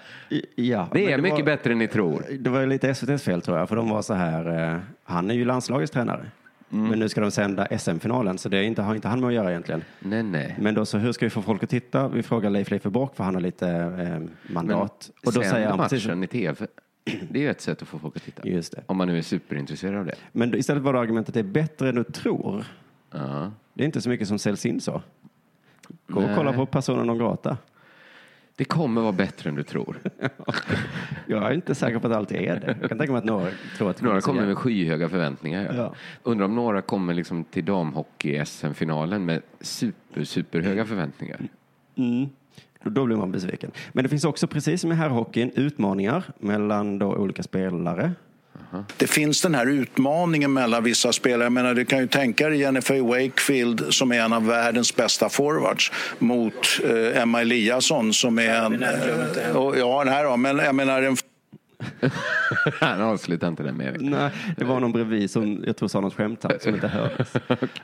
Speaker 7: Ja, men
Speaker 11: det är
Speaker 7: det
Speaker 11: mycket
Speaker 7: var-
Speaker 11: bättre än ni tror.
Speaker 7: Det var ju lite SVTs fel tror jag, för de var så här, eh, han är ju landslagets tränare.
Speaker 11: Mm.
Speaker 7: Men nu ska de sända SM-finalen, så det är inte, har inte han med att göra egentligen.
Speaker 11: Nej, nej.
Speaker 7: Men då så, hur ska vi få folk att titta? Vi frågar Leif Leiferborg, för han har lite eh, mandat.
Speaker 11: Men sänder matchen
Speaker 7: i
Speaker 11: tv. Det är ju ett sätt att få folk att titta.
Speaker 7: Just det.
Speaker 11: Om man nu är superintresserad av det.
Speaker 7: Men då- istället var det argumentet att det är bättre än du tror. Det är inte så mycket som säljs in så. Gå och
Speaker 11: Nej.
Speaker 7: kolla på Persona non grata.
Speaker 11: Det kommer vara bättre än du tror.
Speaker 7: Jag är inte säker på att det alltid är det. Jag kan tänka mig att några tror att det kommer
Speaker 11: Några kommer
Speaker 7: så
Speaker 11: med skyhöga förväntningar. Ja.
Speaker 7: Ja.
Speaker 11: Undrar om några kommer liksom till damhockey-SM-finalen med super, superhöga förväntningar.
Speaker 7: Mm. Då- Då blir man besviken. Men det finns också, precis som i herrhockeyn, utmaningar mellan då olika spelare.
Speaker 8: Det finns den här utmaningen mellan vissa spelare. Jag menar, du kan ju tänka dig Jennifer Wakefield som är en av världens bästa forwards mot eh, Emma Eliasson som är en... Eh, och, ja, den här då, men jag menar en
Speaker 11: Han avslutar inte den med.
Speaker 7: Nej, det var någon bredvid som jag tror sa något skämtsamt som inte hördes.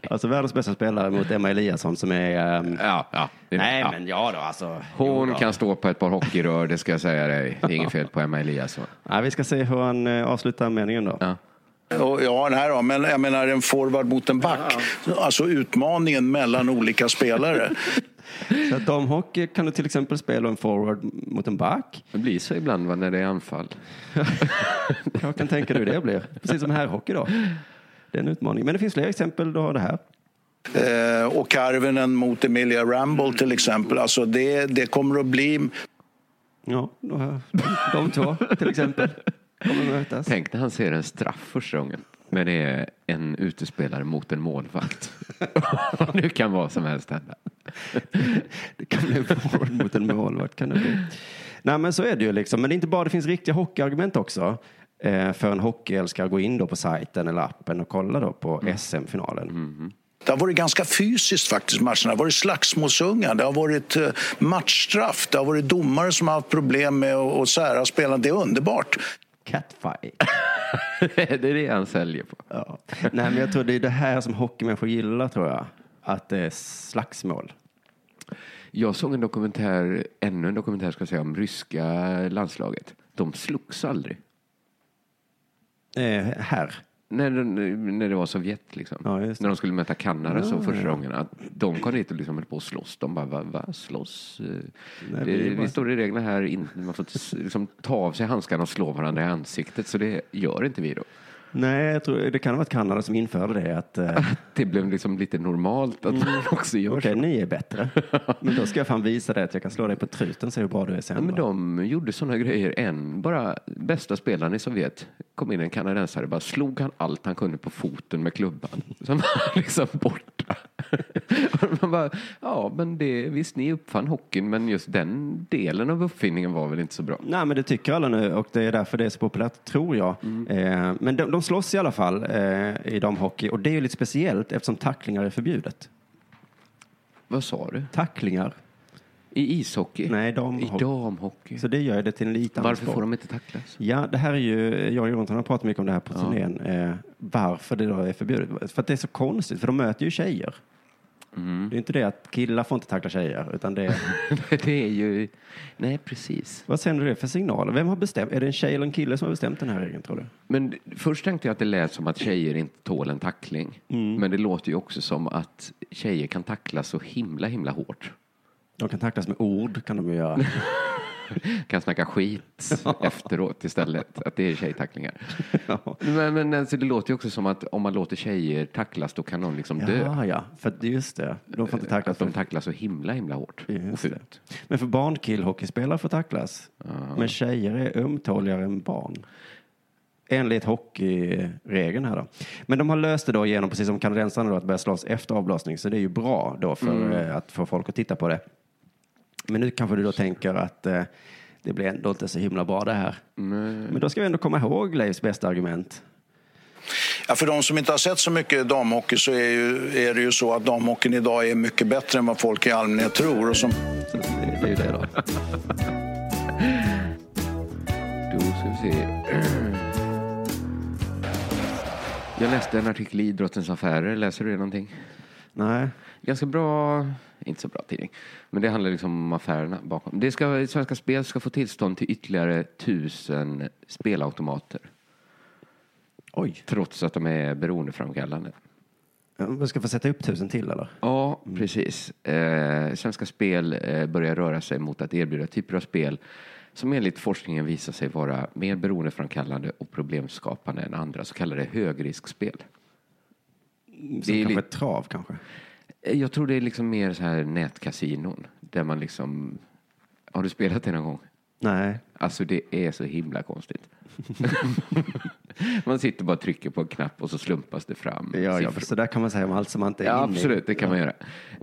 Speaker 7: Alltså världens bästa spelare mot Emma Eliasson som är... ehm,
Speaker 11: Ja, ja. Det-
Speaker 7: nej,
Speaker 11: ja.
Speaker 7: men ja då alltså.
Speaker 11: Hon
Speaker 7: Jo då.
Speaker 11: kan stå på ett par hockeyrör, det ska jag säga dig. Det är inget fel på Emma Eliasson.
Speaker 7: Nej, vi ska se hur han eh, avslutar meningen då.
Speaker 8: Och, ja, den här då, men jag menar en forward mot en back. Alltså utmaningen mellan olika spelare.
Speaker 7: Så att damhockey kan du till exempel spela en forward mot en back.
Speaker 11: Det blir så ibland va, när det är anfall.
Speaker 7: jag kan tänka dig hur det blir. Precis som herrhockey då. Det är en utmaning. Men det finns fler exempel. Du har det här.
Speaker 8: Eh, och Karvinen mot Emilia Ramble till exempel. Alltså det, det kommer att bli...
Speaker 7: Ja, de två till exempel kommer mötas.
Speaker 11: Tänk när han ser en straff första gången. Men det är en utespelare mot en målvakt. nu kan vad som helst hända.
Speaker 7: det kan bli en forward mot en målvakt. Kan det bli. Nej men så är det ju liksom. Men det är inte bara det finns riktiga hockeyargument också. Eh, för en hockeyälskare att gå in då på sajten eller appen och kolla då på SM-finalen.
Speaker 8: Det har varit ganska fysiskt faktiskt matcherna. Det har varit slagsmålsungar, det har varit eh, matchstraff, det har varit domare som har haft problem med att att sära spelarna. Det är underbart.
Speaker 7: Catfight.
Speaker 11: det är det han säljer på.
Speaker 7: Ja. Nej, men jag tror det är det här som hockeymänniskor gillar, tror jag. Att det är slagsmål.
Speaker 11: Jag såg en dokumentär, ännu en dokumentär ska jag säga, om ryska landslaget. De slogs aldrig.
Speaker 7: Eh, här.
Speaker 11: När, de- när det var Sovjet liksom. när de skulle möta Kanada så
Speaker 7: Ja,
Speaker 11: första
Speaker 7: Ah, ja.
Speaker 11: gången. Att de kom dit och liksom höll på att slåss. De bara, va, va slåss? Eh, det,
Speaker 7: vi är
Speaker 11: det
Speaker 7: bara-
Speaker 11: står i reglerna här, in, man får inte s- liksom, ta av sig handskarna och slå varandra i ansiktet. Så det gör inte vi då.
Speaker 7: Nej, jag tror, det kan ha varit Kanada som införde det. Att, eh,
Speaker 11: Det blev liksom lite normalt
Speaker 7: Mm.
Speaker 11: att man också gör
Speaker 7: Okej,
Speaker 11: så.
Speaker 7: ni är bättre. Men då ska jag fan visa dig att jag kan slå dig på truten, se hur bra du är sen.
Speaker 11: Ja, men
Speaker 7: va?
Speaker 11: de gjorde sådana grejer. En, bara bästa spelaren i Sovjet, kom in en kanadensare, bara slog han allt han kunde på foten med klubban. Sen var han liksom borta. Och man bara, ja men det, visst ni uppfann hockeyn, men just den delen av uppfinningen var väl inte så bra.
Speaker 7: Nej, men det tycker alla nu och det är därför det är så populärt, tror jag.
Speaker 11: Mm.
Speaker 7: Eh, men de, de slåss i alla fall eh, i damhockey och det är ju lite speciellt eftersom tacklingar är förbjudet.
Speaker 11: Vad sa du?
Speaker 7: Tacklingar.
Speaker 11: I ishockey?
Speaker 7: Nej, damhockey.
Speaker 11: I damhockey.
Speaker 7: Så det gör ju det till en liten
Speaker 11: Varför
Speaker 7: sport.
Speaker 11: får de inte tacklas?
Speaker 7: Ja, det här är ju, jag och Jonathan har pratat mycket om det här på turnén. Eh, varför det då är förbjudet. För att det är så konstigt, för de möter ju tjejer.
Speaker 11: Mm.
Speaker 7: Det är inte det att killar får inte tackla tjejer, utan det är...
Speaker 11: det är ju... Nej, precis.
Speaker 7: Vad sänder det för signaler? Vem har bestämt? Är det en tjej eller en kille som har bestämt den här regeln, tror du?
Speaker 11: Men först tänkte jag att det lät som att tjejer inte tål en tackling.
Speaker 7: Mm.
Speaker 11: Men det låter ju också som att tjejer kan tacklas så himla, himla hårt.
Speaker 7: De kan tacklas med ord, kan de ju göra.
Speaker 11: kan snacka skit efteråt istället. Att det är tjejtacklingar. Men, men alltså, det låter ju också som att om man låter tjejer tacklas då kan de liksom dö.
Speaker 7: Ja, ja, för det- just det. De får inte tacklas.
Speaker 11: Eh, Att de
Speaker 7: För,
Speaker 11: tacklas så himla, himla hårt och
Speaker 7: Just
Speaker 11: fult.
Speaker 7: men för barn killhockeyspelare får tacklas. Men tjejer är ömtåligare än barn. Enligt hockeyregeln här då. Men de har löst det då genom, precis som kanadensarna då, att börja slåss efter avblåsning. Så det är ju bra då för
Speaker 11: Mm.
Speaker 7: eh, att få folk att titta på det. Men nu kanske du då tänker att eh, det blir ändå inte så himla bra det här. Men då ska vi ändå komma ihåg Leifs bästa argument.
Speaker 8: Ja, för de som inte har sett så mycket damhockey så är, ju, är det ju så att damhockeyn idag är mycket bättre än vad folk i allmänhet tror. Och som...
Speaker 7: Det är ju det då.
Speaker 11: Då ska vi se. Jag läste en artikel i Idrottens Affärer. Läser du det någonting?
Speaker 7: Nej.
Speaker 11: Ganska bra, inte så bra tidning. Men det handlar liksom om affärerna bakom. Det ska, Svenska Spel ska få tillstånd till ytterligare tusen spelautomater.
Speaker 7: Oj.
Speaker 11: Trots att de är beroendeframkallande.
Speaker 7: Ja, Vi ska få sätta upp tusen till eller?
Speaker 11: Ja, precis. Eh, Svenska Spel eh, börjar röra sig mot att erbjuda typer av spel som enligt forskningen visar sig vara mer beroendeframkallande och problemskapande än andra så kallade högriskspel.
Speaker 7: Som
Speaker 11: är
Speaker 7: kanske
Speaker 11: lite-
Speaker 7: ett trav kanske?
Speaker 11: Eh, Jag tror det är liksom mer så här nätkasinon där man liksom... Har du spelat det någon gång?
Speaker 7: Nej.
Speaker 11: Alltså det är så himla konstigt. man sitter bara och trycker på en knapp och så slumpas det fram
Speaker 7: Ja, ja,
Speaker 11: siffror.
Speaker 7: för så där kan man säga om allt som man inte är
Speaker 11: Ja,
Speaker 7: inne i.
Speaker 11: absolut. Det kan man göra.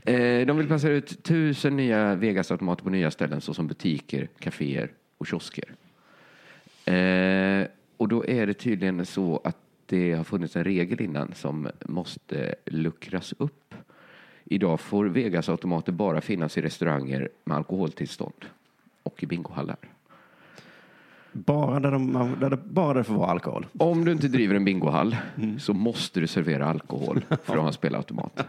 Speaker 11: Eh, de vill placera ut tusen nya Vegas-automater på nya ställen såsom butiker, kaféer och kiosker. Eh, och då är det tydligen så att det har funnits en regel innan som måste luckras upp. Idag får Vegas-automater bara finnas i restauranger med alkoholtillstånd och i bingohallar.
Speaker 7: Bara där, de, man- där det, bara där det får vara alkohol.
Speaker 11: Om du inte driver en bingohall så måste du servera alkohol för att ha en spelautomat.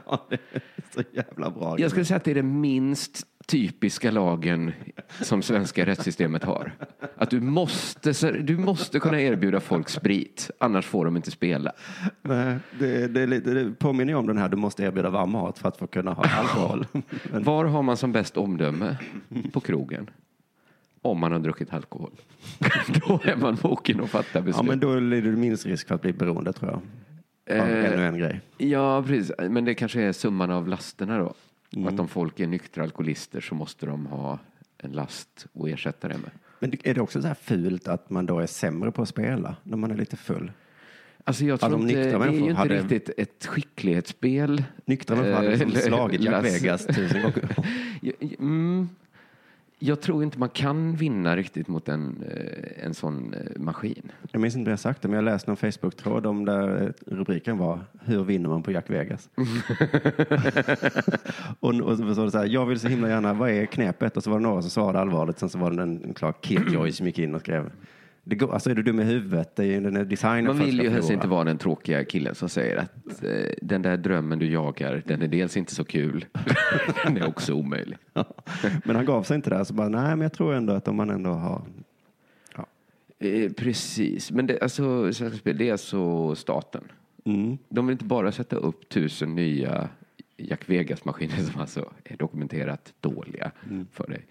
Speaker 7: Så jävla bra.
Speaker 11: Jag skulle säga att det är den minst typiska lagen som svenska rättssystemet har. Att du måste, du måste kunna erbjuda folk sprit, annars får de inte spela.
Speaker 7: Nej, det, det, är lite- det påminner ju om den här, du måste erbjuda varm mat för att få kunna ha alkohol.
Speaker 11: Var har man som bäst omdöme? På krogen. Om man har druckit alkohol. Då är man mogen att fatta
Speaker 7: ja,
Speaker 11: beslut.
Speaker 7: men då lider du minst risk för att bli beroende tror jag. Av
Speaker 11: Eh.
Speaker 7: ännu en grej.
Speaker 11: Ja, precis. Men det kanske är summan av lasterna då.
Speaker 7: Mm.
Speaker 11: Att om folk är nyktra alkoholister så måste de ha en last att ersätta det med.
Speaker 7: Men är det också så här fult att man då är sämre på att spela när man är lite full?
Speaker 11: Alltså jag
Speaker 7: Alla
Speaker 11: tror
Speaker 7: de
Speaker 11: inte, det
Speaker 7: nyktra
Speaker 11: är ju
Speaker 7: människor
Speaker 11: inte
Speaker 7: hade-
Speaker 11: riktigt ett skicklighetsspel.
Speaker 7: Nyktra människor hade
Speaker 11: Eh,
Speaker 7: liksom slagit Jack
Speaker 11: lass-
Speaker 7: Vegas tusen gånger.
Speaker 11: mm, jag tror inte man kan vinna riktigt mot en, eh, en sån eh, maskin.
Speaker 7: Jag minns inte om jag sagt det, men jag läste någon Facebook-tråd om där rubriken var Hur vinner man på Jack Vegas?
Speaker 11: Mm.
Speaker 7: och, och så var det så här, jag vill så himla gärna, vad är knepet? Och så var det några som svarade allvarligt, sen så var det en, en klar killjoy som gick in och skrev det går, alltså är du dum i huvudet? Det är ju den här designen
Speaker 11: Man
Speaker 7: för att
Speaker 11: vill
Speaker 7: ska
Speaker 11: ju helst
Speaker 7: förlora."
Speaker 11: inte vara den tråkiga killen som säger att eh, den där drömmen du jagar, den är dels inte så kul, den är också omöjlig.
Speaker 7: Men han gav sig inte där, så bara nej, men jag tror ändå att om man ändå har...
Speaker 11: Eh, precis, men det, alltså, Svenska Spel, det är alltså staten. De vill inte bara sätta upp tusen nya Jack Vegas-maskiner som alltså är dokumenterat dåliga för dig.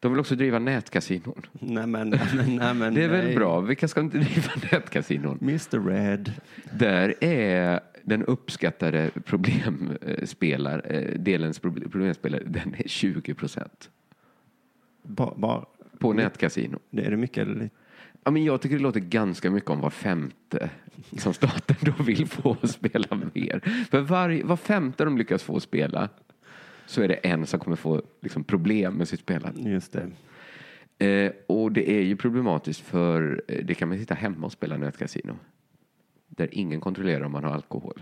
Speaker 11: De vill också driva nätkasinon.
Speaker 7: Nej men, nej, men
Speaker 11: det är väl
Speaker 7: nej.
Speaker 11: bra, vilka ska inte driva nätkasinon?
Speaker 7: Mr Red.
Speaker 11: Där är den uppskattade problemspelar, eh, delens proble- problemspelare, den är 20 procent.
Speaker 7: Ba, ba,
Speaker 11: På nätkasino.
Speaker 7: Det är det mycket eller lite?
Speaker 11: Ja, men jag tycker det låter ganska mycket om var femte som staten då vill få att spela mer. För var, var femte de lyckas få att spela så är det en som kommer få liksom, problem med sitt spelande.
Speaker 7: Just det.
Speaker 11: Eh, och det är ju problematiskt för eh, det kan man sitta hemma och spela nätkasino. Där ingen kontrollerar om man har alkohol.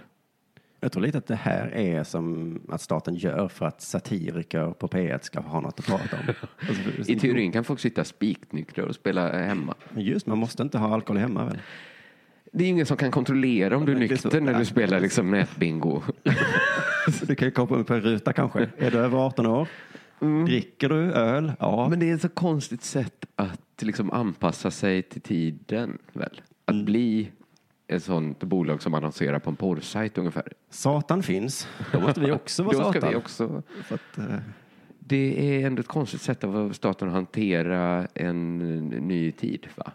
Speaker 7: Jag tror lite att det här är som att staten gör för att satiriker på P1 ska ha något att prata om. Alltså,
Speaker 11: I teorin kan folk sitta spiknyktra och spela eh, hemma.
Speaker 7: Men just man måste inte ha alkohol hemma väl?
Speaker 11: Det är ingen som kan kontrollera om du är
Speaker 7: Det är så-
Speaker 11: nykter när du
Speaker 7: nej.
Speaker 11: spelar liksom nätbingo.
Speaker 7: Alltså, Du kan ju komma upp på en ruta kanske. Är du över 18 år? Dricker du öl? Ja.
Speaker 11: Mm. Men det är ett så konstigt sätt att liksom anpassa sig till tiden väl? Att
Speaker 7: Mm.
Speaker 11: bli ett sånt bolag som annonserar på en porrsajt ungefär.
Speaker 7: Satan finns. Då måste vi också vara
Speaker 11: Då ska
Speaker 7: satan.
Speaker 11: vi också.
Speaker 7: För att, eh,
Speaker 11: Det är ändå ett konstigt sätt av staten att hantera en ny tid va?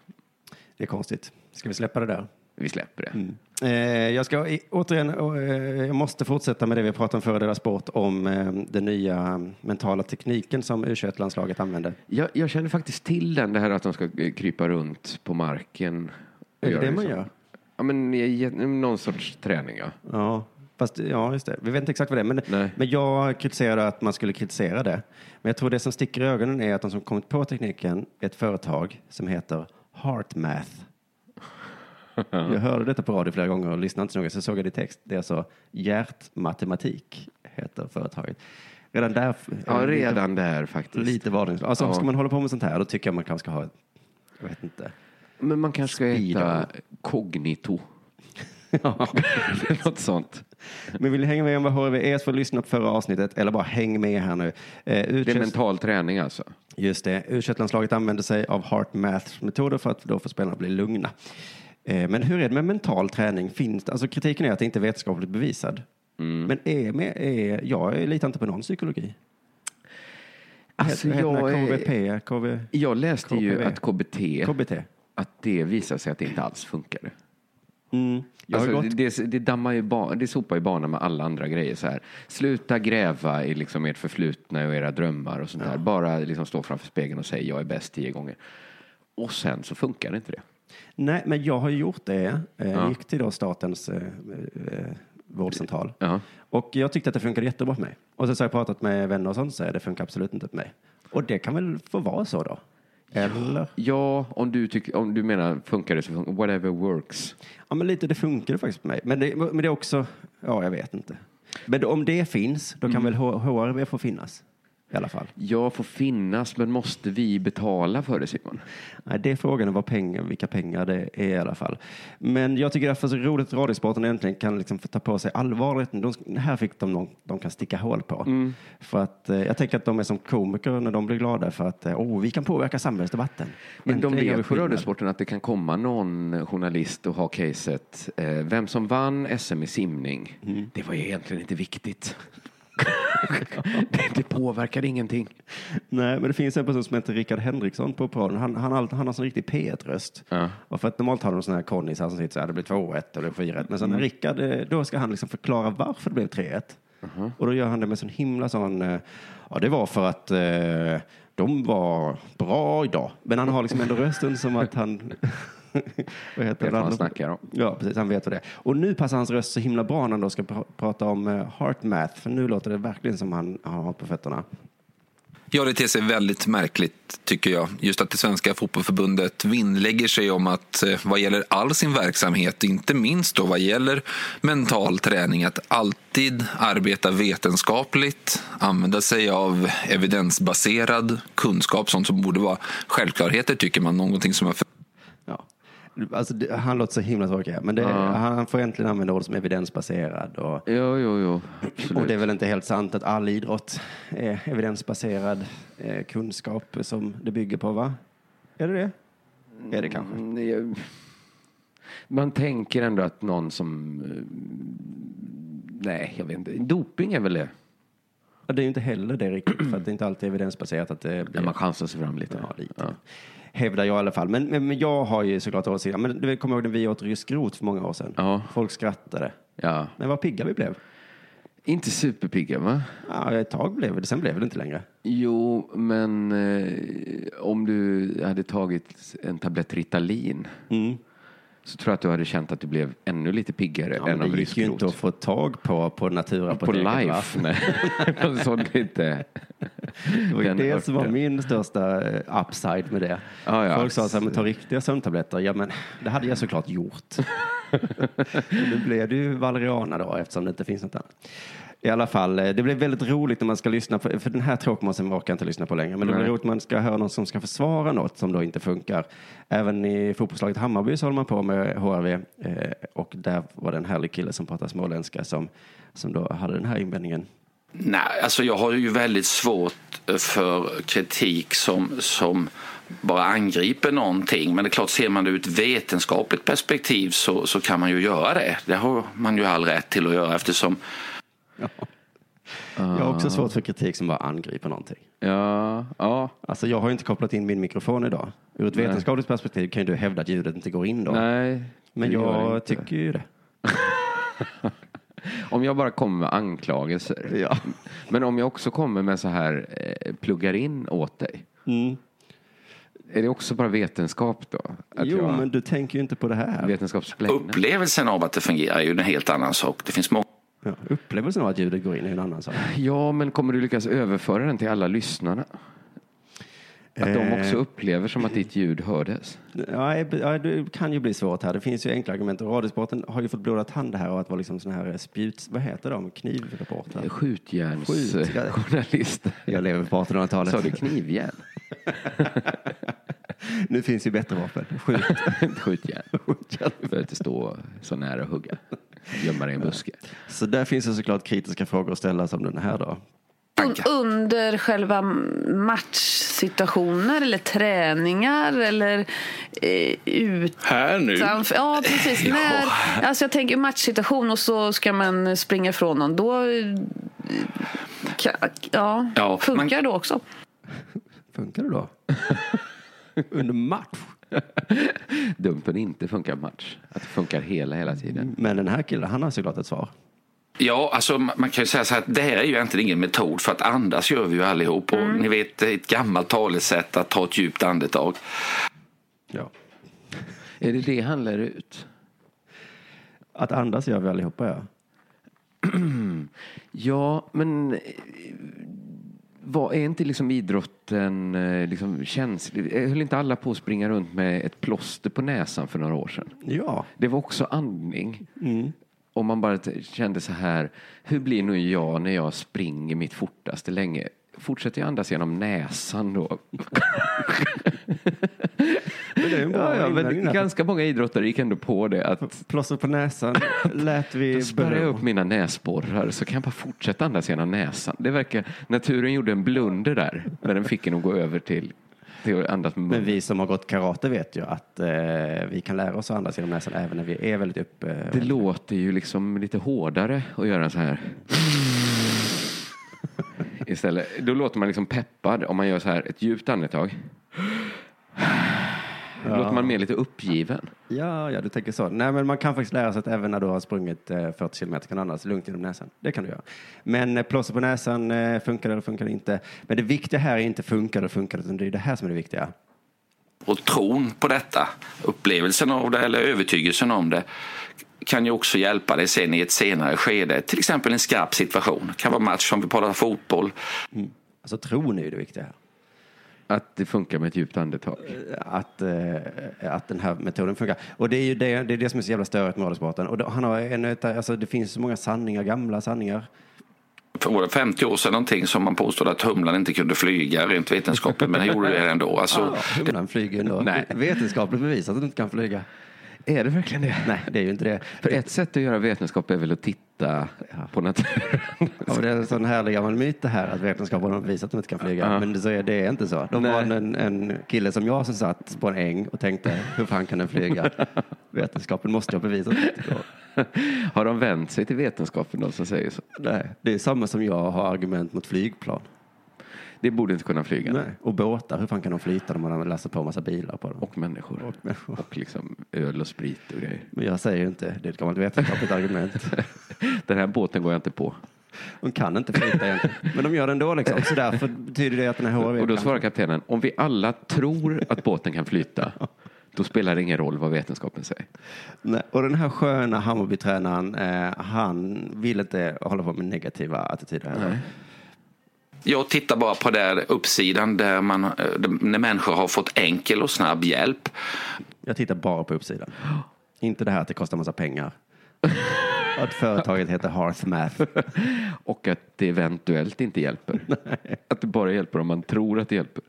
Speaker 7: det är konstigt. Ska vi släppa det där?
Speaker 11: Vi släpper det.
Speaker 7: Eh, jag ska i- återigen, eh, jag måste fortsätta med det vi pratade om före deras sport om eh, den nya mentala tekniken som U21-landslaget använder.
Speaker 11: Jag, jag känner faktiskt till den, det här att de ska eh, krypa runt på marken. och
Speaker 7: Är det
Speaker 11: göra
Speaker 7: det man
Speaker 11: så.
Speaker 7: gör?
Speaker 11: Ja, men i- i- någon sorts träning ja.
Speaker 7: Ja, fast, ja just det. Vi vet inte exakt vad det är. Men, men jag kritiserade att man skulle kritisera det. Men jag tror det som sticker i ögonen är att de som kommit på tekniken är ett företag som heter HeartMath. Jag hörde detta på radio flera gånger och lyssnade inte så noga, så såg jag det i text. Det är alltså hjärtmatematik, heter företaget. Redan där.
Speaker 11: Ja, redan där faktiskt.
Speaker 7: Lite varningslag. Alltså,
Speaker 11: Ja.
Speaker 7: Ska man hålla på med sånt här, då tycker jag man kanske ska ha ett, jag vet inte.
Speaker 11: Men man kanske ska heta Cognito. Något sånt.
Speaker 7: Men vill ni hänga med om vad HIV är så E får ni lyssna på förra avsnittet eller bara häng med här nu. Eh,
Speaker 11: Det är
Speaker 7: U21
Speaker 11: mental träning alltså.
Speaker 7: Just det. u landslaget använder sig av heart math metoder för att då få spelarna att bli lugna. Eh, Men hur är det med mental träning? Finns det, alltså kritiken är att det inte är vetenskapligt bevisad.
Speaker 11: Mm.
Speaker 7: Men är, med, är, jag litar inte på någon psykologi.
Speaker 11: Alltså,
Speaker 7: Heter- heter
Speaker 11: jag
Speaker 7: den här KBP,
Speaker 11: är-
Speaker 7: KV,
Speaker 11: Jag läste ju
Speaker 7: KBV.
Speaker 11: att KBT,
Speaker 7: KBT.
Speaker 11: att det visar sig att det inte alls funkar.
Speaker 7: Mm. Jag har
Speaker 11: Alltså,
Speaker 7: gått,
Speaker 11: det, det, dammar ju ba, det sopar ju banan med alla andra grejer. Så här. Sluta gräva i liksom ert förflutna och era drömmar och sånt där. Bara liksom stå framför spegeln och säga jag är bäst tio gånger. Och sen så funkar det inte det.
Speaker 7: nej, men jag har gjort det. Eh,
Speaker 11: Ja.
Speaker 7: Gick till då statens eh, eh, vårdcentral.
Speaker 11: Ja.
Speaker 7: Och jag tyckte att det funkade jättebra för mig. Och sen så har jag pratat med vänner och sånt så säger det funkar absolut inte för mig. Och det kan väl få vara så då? Eller?
Speaker 11: Ja, om du, tycker, om du menar funkar det så funkar Whatever works.
Speaker 7: Ja, men lite det funkar faktiskt på mig. Men det, men det är också, ja, jag vet inte. Men om det finns, då kan
Speaker 11: Mm.
Speaker 7: väl H- HRV få finnas i alla fall.
Speaker 11: Jag får finnas, men måste vi betala för det Simon?
Speaker 7: Nej, det är frågan vad pengar, vilka pengar det är i alla fall. Men jag tycker därför så roligt att Radiosporten äntligen kan liksom få ta på sig allvaret. De, här fick de någon de kan sticka hål på.
Speaker 11: Mm.
Speaker 7: För att, eh, jag tänker att de är som komiker när de blir glada för att eh, oh, vi kan påverka samhällsdebatten.
Speaker 11: Men de
Speaker 7: Äntligen gör vi
Speaker 11: vet på
Speaker 7: skillnad.
Speaker 11: radiosporten att det kan komma någon journalist och ha caset.
Speaker 7: Mm.
Speaker 11: Eh, vem som vann SM i simning, det var ju egentligen inte viktigt.
Speaker 7: det, påverkar ingenting. Nej, men det finns en person som heter Rickard Henriksson på podden. Han, han, har- han har sån riktig P1-röst. Och för att normalt har de sådana här konnisar som sitter så här, det blir 2-1 och det blir 4-1. Men sen när
Speaker 11: Mm.
Speaker 7: Rickard, eh, då ska han liksom förklara varför det blev 3-1.
Speaker 11: Uh-huh.
Speaker 7: Och då gör han det med sån himla sån, eh, ja det var för att eh, de var bra idag. Men han har liksom ändå rösten som att han, vad heter
Speaker 11: Vet vad
Speaker 7: det?
Speaker 11: han snackar om.
Speaker 7: Ja, precis. Han vet vad det är. Och nu passar hans röst så himla bra när han då ska pra- prata om eh, heart math. För nu låter det verkligen som han han har på fötterna.
Speaker 17: Ja, det ter sig väldigt märkligt tycker jag. Just att det svenska fotbollförbundet vinnlägger sig om att eh, vad gäller all sin verksamhet, inte minst då vad gäller mental träning, att alltid arbeta vetenskapligt, använda sig av evidensbaserad kunskap, sånt som borde vara självklarheter tycker man, någonting som har
Speaker 7: Alltså, det, han låter så himla tråkig. Men det,
Speaker 17: Ja.
Speaker 7: han han får äntligen använda ord som evidensbaserad. Och,
Speaker 11: jo, jo, jo.
Speaker 7: och det är väl inte helt sant att all idrott är evidensbaserad eh, kunskap som det bygger på, va? Är det det? Är det kanske?
Speaker 11: Man tänker ändå att någon som... eh, Nej, jag vet inte. Doping är väl det?
Speaker 7: Ja, det är ju inte heller det riktigt, för att det är inte alltid evidensbaserat att det blir... man
Speaker 11: chansar sig fram lite.
Speaker 7: Ja, lite. Hävdar jag i alla fall. Men, men, men jag har ju såklart åsikter. Men du vet, kommer ihåg när vi åt rysk rot för många år sedan? Folk skrattade.
Speaker 11: Ja.
Speaker 7: Men vad pigga vi blev.
Speaker 11: Inte superpigga, va?
Speaker 7: Ja, ett tag blev det. Sen blev det inte längre.
Speaker 11: Jo, men eh, om du hade tagit en tablett Ritalin
Speaker 7: Mm.
Speaker 11: så tror jag att du hade känt att du blev ännu lite piggare
Speaker 7: Ja, men
Speaker 11: än
Speaker 7: det
Speaker 11: av
Speaker 7: gick ju
Speaker 11: ryskrot.
Speaker 7: inte att få tag på på
Speaker 11: På
Speaker 7: naturapoteket. va?
Speaker 11: Life, nej. Alltså, De sålde inte.
Speaker 7: Det var ju
Speaker 11: Den
Speaker 7: det som var
Speaker 11: örten.
Speaker 7: min största eh, upside med det.
Speaker 11: Ja, ja.
Speaker 7: Folk sa så här, men ta riktiga sömntabletter. Ja, men det hade jag såklart gjort. nu blev det ju valeriana då eftersom det inte finns något annat. I alla fall, eh, det blev väldigt roligt när man ska lyssna på, för den här tråkmånsen orkar jag inte lyssna på längre, men det blir
Speaker 11: Nej.
Speaker 7: roligt när man ska höra någon som ska försvara något som då inte funkar. Även i fotbollslaget Hammarby så håller man på med HRV eh, och där var det en härlig kille som pratade småländska som, som då hade den här invändningen.
Speaker 18: Nej, alltså jag har ju väldigt svårt eh, för kritik som, som bara angriper någonting. Men det är klart, ser man det ur ett vetenskapligt perspektiv så, så kan man ju göra det. Det har man ju all rätt till att göra eftersom
Speaker 7: Jag har också svårt för kritik som bara angriper någonting.
Speaker 11: Ja, ja.
Speaker 7: Alltså jag har ju inte kopplat in min mikrofon idag. Ur ett
Speaker 11: Nej.
Speaker 7: vetenskapligt perspektiv kan ju du hävda att ljudet inte går in då.
Speaker 11: Nej,
Speaker 7: Men
Speaker 11: det gör det
Speaker 7: jag
Speaker 11: inte.
Speaker 7: tycker ju det.
Speaker 11: Om jag bara kommer med anklagelser. Men om jag också kommer med så här, eh, pluggar in åt dig.
Speaker 7: Mm.
Speaker 11: Är det också bara vetenskap då? Att
Speaker 7: jo,
Speaker 11: jag-
Speaker 7: men du tänker ju inte på det här.
Speaker 11: Vetenskapsbläng.
Speaker 18: upplevelsen av att det fungerar är ju en helt annan sak. Det finns många
Speaker 7: Ja, upplevelsen av att ljudet går in är en annan sak.
Speaker 11: Ja, men kommer du lyckas överföra den till alla lyssnarna? Att de
Speaker 7: Eh.
Speaker 11: också upplever som att ditt ljud hördes?
Speaker 7: Ja, eh, ja, det kan ju bli svårt här. Det finns ju enkla argument. Och Radiosporten har ju fått blodad hand här och att vara liksom sån här eh, spjut... Vad heter de? Knivreportrar?
Speaker 11: Eh, Skjutjärns-
Speaker 7: Skjut- ja.
Speaker 11: journalister.
Speaker 7: Jag lever på 1800-talet.
Speaker 11: Sa du knivjärn?
Speaker 7: nu finns ju bättre vapen. Skjut.
Speaker 11: Skjutjärn. Du behöver inte stå så nära och hugga. Gömma dig i en buske.
Speaker 7: Så där finns det såklart kritiska frågor att ställa som den här då.
Speaker 19: Under själva matchsituationer eller träningar eller eh, ut
Speaker 2: Här nu?
Speaker 19: Utanför- Ja, precis. När, alltså jag tänker matchsituation och så ska man springa ifrån någon. Då, eh, ka- ja,
Speaker 18: Ja,
Speaker 19: funkar det då också?
Speaker 7: Funkar det då? Under match?
Speaker 11: Dumt om det inte funkar match. Att det funkar hela, hela tiden.
Speaker 7: Men den här killen, han har såklart ett svar.
Speaker 18: Ja, alltså ma- man kan ju säga så här att det här är ju egentligen ingen metod för att andas gör vi ju allihop. Och ni vet, det är ett gammalt talesätt att ta ett djupt andetag.
Speaker 11: Är det det han lär ut?
Speaker 7: Att andas gör vi allihopa, ja.
Speaker 11: ja, men eh, vad är inte liksom idrotten eh, liksom känslig? Eh, Höll inte alla på att springa runt med ett plåster på näsan för några år sedan?
Speaker 7: Ja.
Speaker 11: Det var också andning. Om man bara t- kände så här, hur blir nu jag när jag springer mitt fortaste länge? Fortsätter jag andas genom näsan då?
Speaker 7: en bra
Speaker 11: ja, ja,
Speaker 7: invändning där.
Speaker 11: men ganska många idrottare gick ändå på det. Att
Speaker 7: Plåster på näsan lät vi
Speaker 11: då spärrar jag
Speaker 7: bero.
Speaker 11: upp mina näsborrar så kan jag bara fortsätta andas genom näsan. Det verkar, naturen gjorde en blunder där när den fick en att gå över till, till att andas med
Speaker 7: Men
Speaker 11: munnen.
Speaker 7: vi som har gått karate vet ju att eh, vi kan lära oss att andas genom näsan även när vi är väldigt eh. uppe.
Speaker 11: Det låter ju liksom lite hårdare att göra så här. istället. Då låter man liksom peppad om man gör så här ett djupt andetag. Då låter man mer lite uppgiven.
Speaker 7: Ja, ja, du tänker så. Nej, men man kan faktiskt lära sig att även när du har sprungit eh, 40 kilometer kan du andas lugnt genom näsan. Det kan du göra. Men eh, plåster på näsan, eh, funkar det eller funkar det inte? Men det viktiga här är inte funkar det eller funkar det, utan det är det här som är det viktiga.
Speaker 18: Och tron på detta, upplevelsen av det eller övertygelsen om det kan ju också hjälpa dig sen i ett senare skede, till exempel en skarp situation. Det kan vara match som vi pratar fotboll.
Speaker 7: Alltså tron är ju det viktiga här.
Speaker 11: Att det funkar med ett djupt andetag.
Speaker 7: Att, eh, att den här metoden funkar. Och det är ju det, det, är det som är så jävla störigt med radiosporten. Och då, han har en, ett- alltså, det finns så många sanningar, gamla sanningar.
Speaker 18: För var det 50 år sedan någonting som man påstod att humlan inte kunde flyga rent vetenskapligt, men den gjorde det ändå. Alltså,
Speaker 7: ja, humlan flyger ändå.
Speaker 18: Nej.
Speaker 7: Vetenskapligt bevisat att den inte kan flyga.
Speaker 11: Är det verkligen det?
Speaker 7: Nej, det är ju inte det.
Speaker 11: För ett sätt att göra vetenskap är väl att titta på naturen.
Speaker 7: Ja, men det är en sån härlig gammal myt det här att vetenskapen har visat att de inte kan flyga.
Speaker 11: Ja.
Speaker 7: Men det, så är, det är inte så. De var en, en kille som jag som satt på en äng och tänkte hur fan kan den flyga? vetenskapen måste ha bevisat att det inte går.
Speaker 11: Har de vänt sig till vetenskapen, de som säger så?
Speaker 7: Nej, det är samma som jag har argument mot flygplan.
Speaker 11: Det borde inte kunna flyga.
Speaker 7: Nej. Och båtar, hur fan kan de flyta när man läser på massa bilar på dem?
Speaker 11: Och människor.
Speaker 7: Och, människor.
Speaker 11: Och liksom öl och sprit och grejer.
Speaker 7: Men jag säger ju inte, det är ett gammalt vetenskapligt argument.
Speaker 11: Den här båten går jag inte på.
Speaker 7: De kan inte flyta egentligen. Men de gör det ändå liksom. Så därför betyder det att den här HRV
Speaker 11: Och då
Speaker 7: kan-
Speaker 11: svarar kaptenen, om vi alla tror att båten kan flyta, då spelar det ingen roll vad vetenskapen säger.
Speaker 7: Nej, och den här sköna Hammarbytränaren, eh, han vill inte hålla på med negativa attityder heller.
Speaker 18: Jag tittar bara på där uppsidan där man, eh, när människor har fått enkel och snabb hjälp.
Speaker 7: Jag tittar bara på uppsidan. Inte det här att det kostar massa pengar. att företaget heter Hearthmath.
Speaker 11: Och att det eventuellt inte hjälper. Att det bara hjälper om man tror att det hjälper.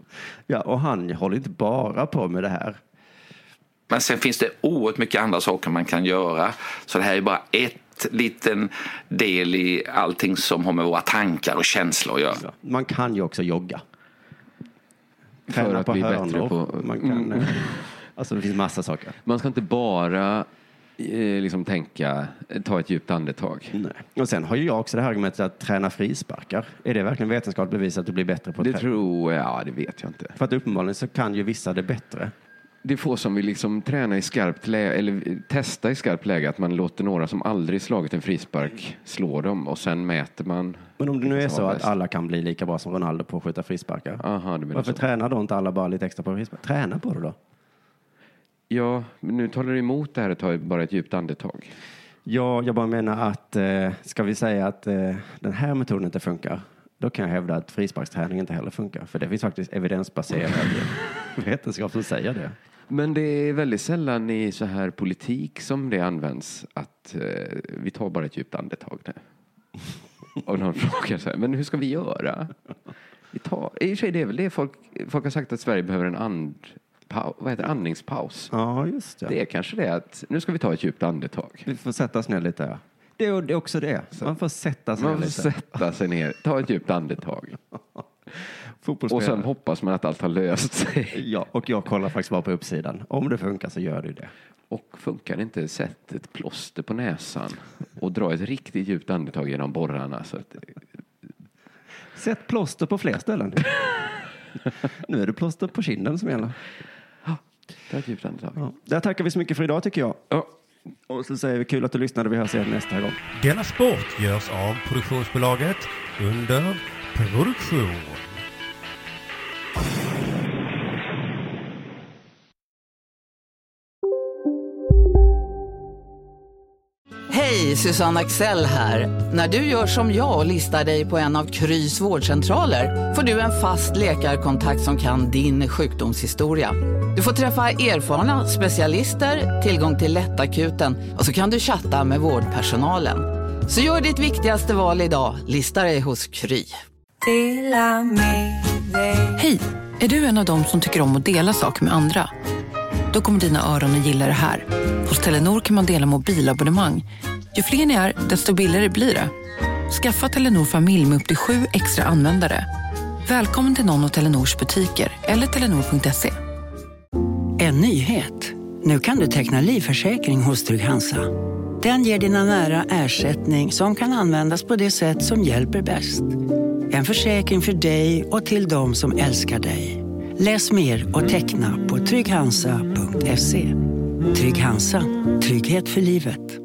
Speaker 7: Ja, och han håller inte bara på med det här.
Speaker 18: Men sen finns det oerhört mycket andra saker man kan göra. Så det här är bara ett liten del i allting som har med våra tankar och känslor att göra.
Speaker 7: Man kan ju också jogga.
Speaker 11: För
Speaker 7: Träna
Speaker 11: att
Speaker 7: på
Speaker 11: bli bättre
Speaker 7: hörnor.
Speaker 11: på-
Speaker 7: Man kan,
Speaker 11: Mm.
Speaker 7: eh, alltså det finns massa saker.
Speaker 11: Man ska inte bara eh, liksom tänka, eh, ta ett djupt andetag.
Speaker 7: Och sen har ju jag också det här argumentet att träna frisparkar. Är det verkligen vetenskapligt bevisat att du blir bättre på
Speaker 11: Det
Speaker 7: trä-
Speaker 11: tror jag, ja, det vet jag inte.
Speaker 7: För att uppenbarligen så kan ju vissa det bättre.
Speaker 11: Det är få som vill liksom träna i skarpt läge, eller eh, testa i skarpt läge, att man låter några som aldrig slagit en frispark slå dem och sen mäter man.
Speaker 7: Men om det nu är
Speaker 11: vilken som
Speaker 7: så
Speaker 11: var
Speaker 7: att
Speaker 11: bäst.
Speaker 7: alla kan bli lika bra som Ronaldo på att skjuta frisparkar.
Speaker 11: Aha, du menar
Speaker 7: Varför
Speaker 11: så.
Speaker 7: tränar då inte alla bara lite extra på frisparkar? Träna på det då.
Speaker 11: Ja, men nu talar du emot det här att ta bara ett djupt andetag.
Speaker 7: Ja, jag bara menar att eh, ska vi säga att eh, den här metoden inte funkar, då kan jag hävda att frisparksträning inte heller funkar. För det finns faktiskt evidensbaserad vetenskap som säger det.
Speaker 11: Men det är väldigt sällan i så här politik som det används att eh, vi tar bara ett djupt andetag nu. Och någon frågar så här, men hur ska vi göra? Vi tar, I och för sig, det är väl det folk, folk har sagt att Sverige behöver en and, pau, vad heter det, andningspaus.
Speaker 7: Ja, just det.
Speaker 11: Det är kanske det att nu ska vi ta ett djupt andetag.
Speaker 7: Vi får sätta oss ner lite. ja. Det är det är också det. Man får sätta sig
Speaker 11: Man
Speaker 7: ner
Speaker 11: får
Speaker 7: lite.
Speaker 11: sätta sig ner, ta ett djupt andetag. Och sen hoppas man att allt har löst sig.
Speaker 7: Ja, och jag kollar faktiskt bara på uppsidan. Om det funkar så gör det ju det.
Speaker 11: Och funkar det inte, sätt ett plåster på näsan och dra ett riktigt djupt andetag genom borrarna. Så att,
Speaker 7: Sätt plåster på fler ställen. nu är det plåster på kinden som gäller.
Speaker 11: ta ett djupt andetag.
Speaker 7: Ja. Där tackar vi så mycket för idag tycker jag. Och så säger vi kul att du lyssnade. Vi hörs igen nästa gång.
Speaker 20: Denna sport görs av produktionsbolaget under produktion.
Speaker 2: Hej, Susanne Axel här. När du gör som jag och listar dig på en av Krys vårdcentraler får du en fast läkarkontakt som kan din sjukdomshistoria. Du får träffa erfarna specialister, tillgång till lättakuten och så kan du chatta med vårdpersonalen. Så gör ditt viktigaste val idag, listar dig hos Kry.
Speaker 16: Hej! Är du en av dem som tycker om att dela saker med andra? Då kommer dina öron att gilla det här. Hos Telenor kan man dela mobilabonnemang. Ju fler ni är, desto billigare blir det. Skaffa Telenor familj med upp till sju extra användare. Välkommen till någon av Telenors butiker eller telenor.se.
Speaker 1: En nyhet. Nu kan du teckna livförsäkring hos Trygg-Hansa. Den ger dina nära ersättning som kan användas på det sätt som hjälper bäst. En försäkring för dig och till de som älskar dig. Läs mer och teckna på trygghansa.se. Trygg Hansa. Trygghet för livet.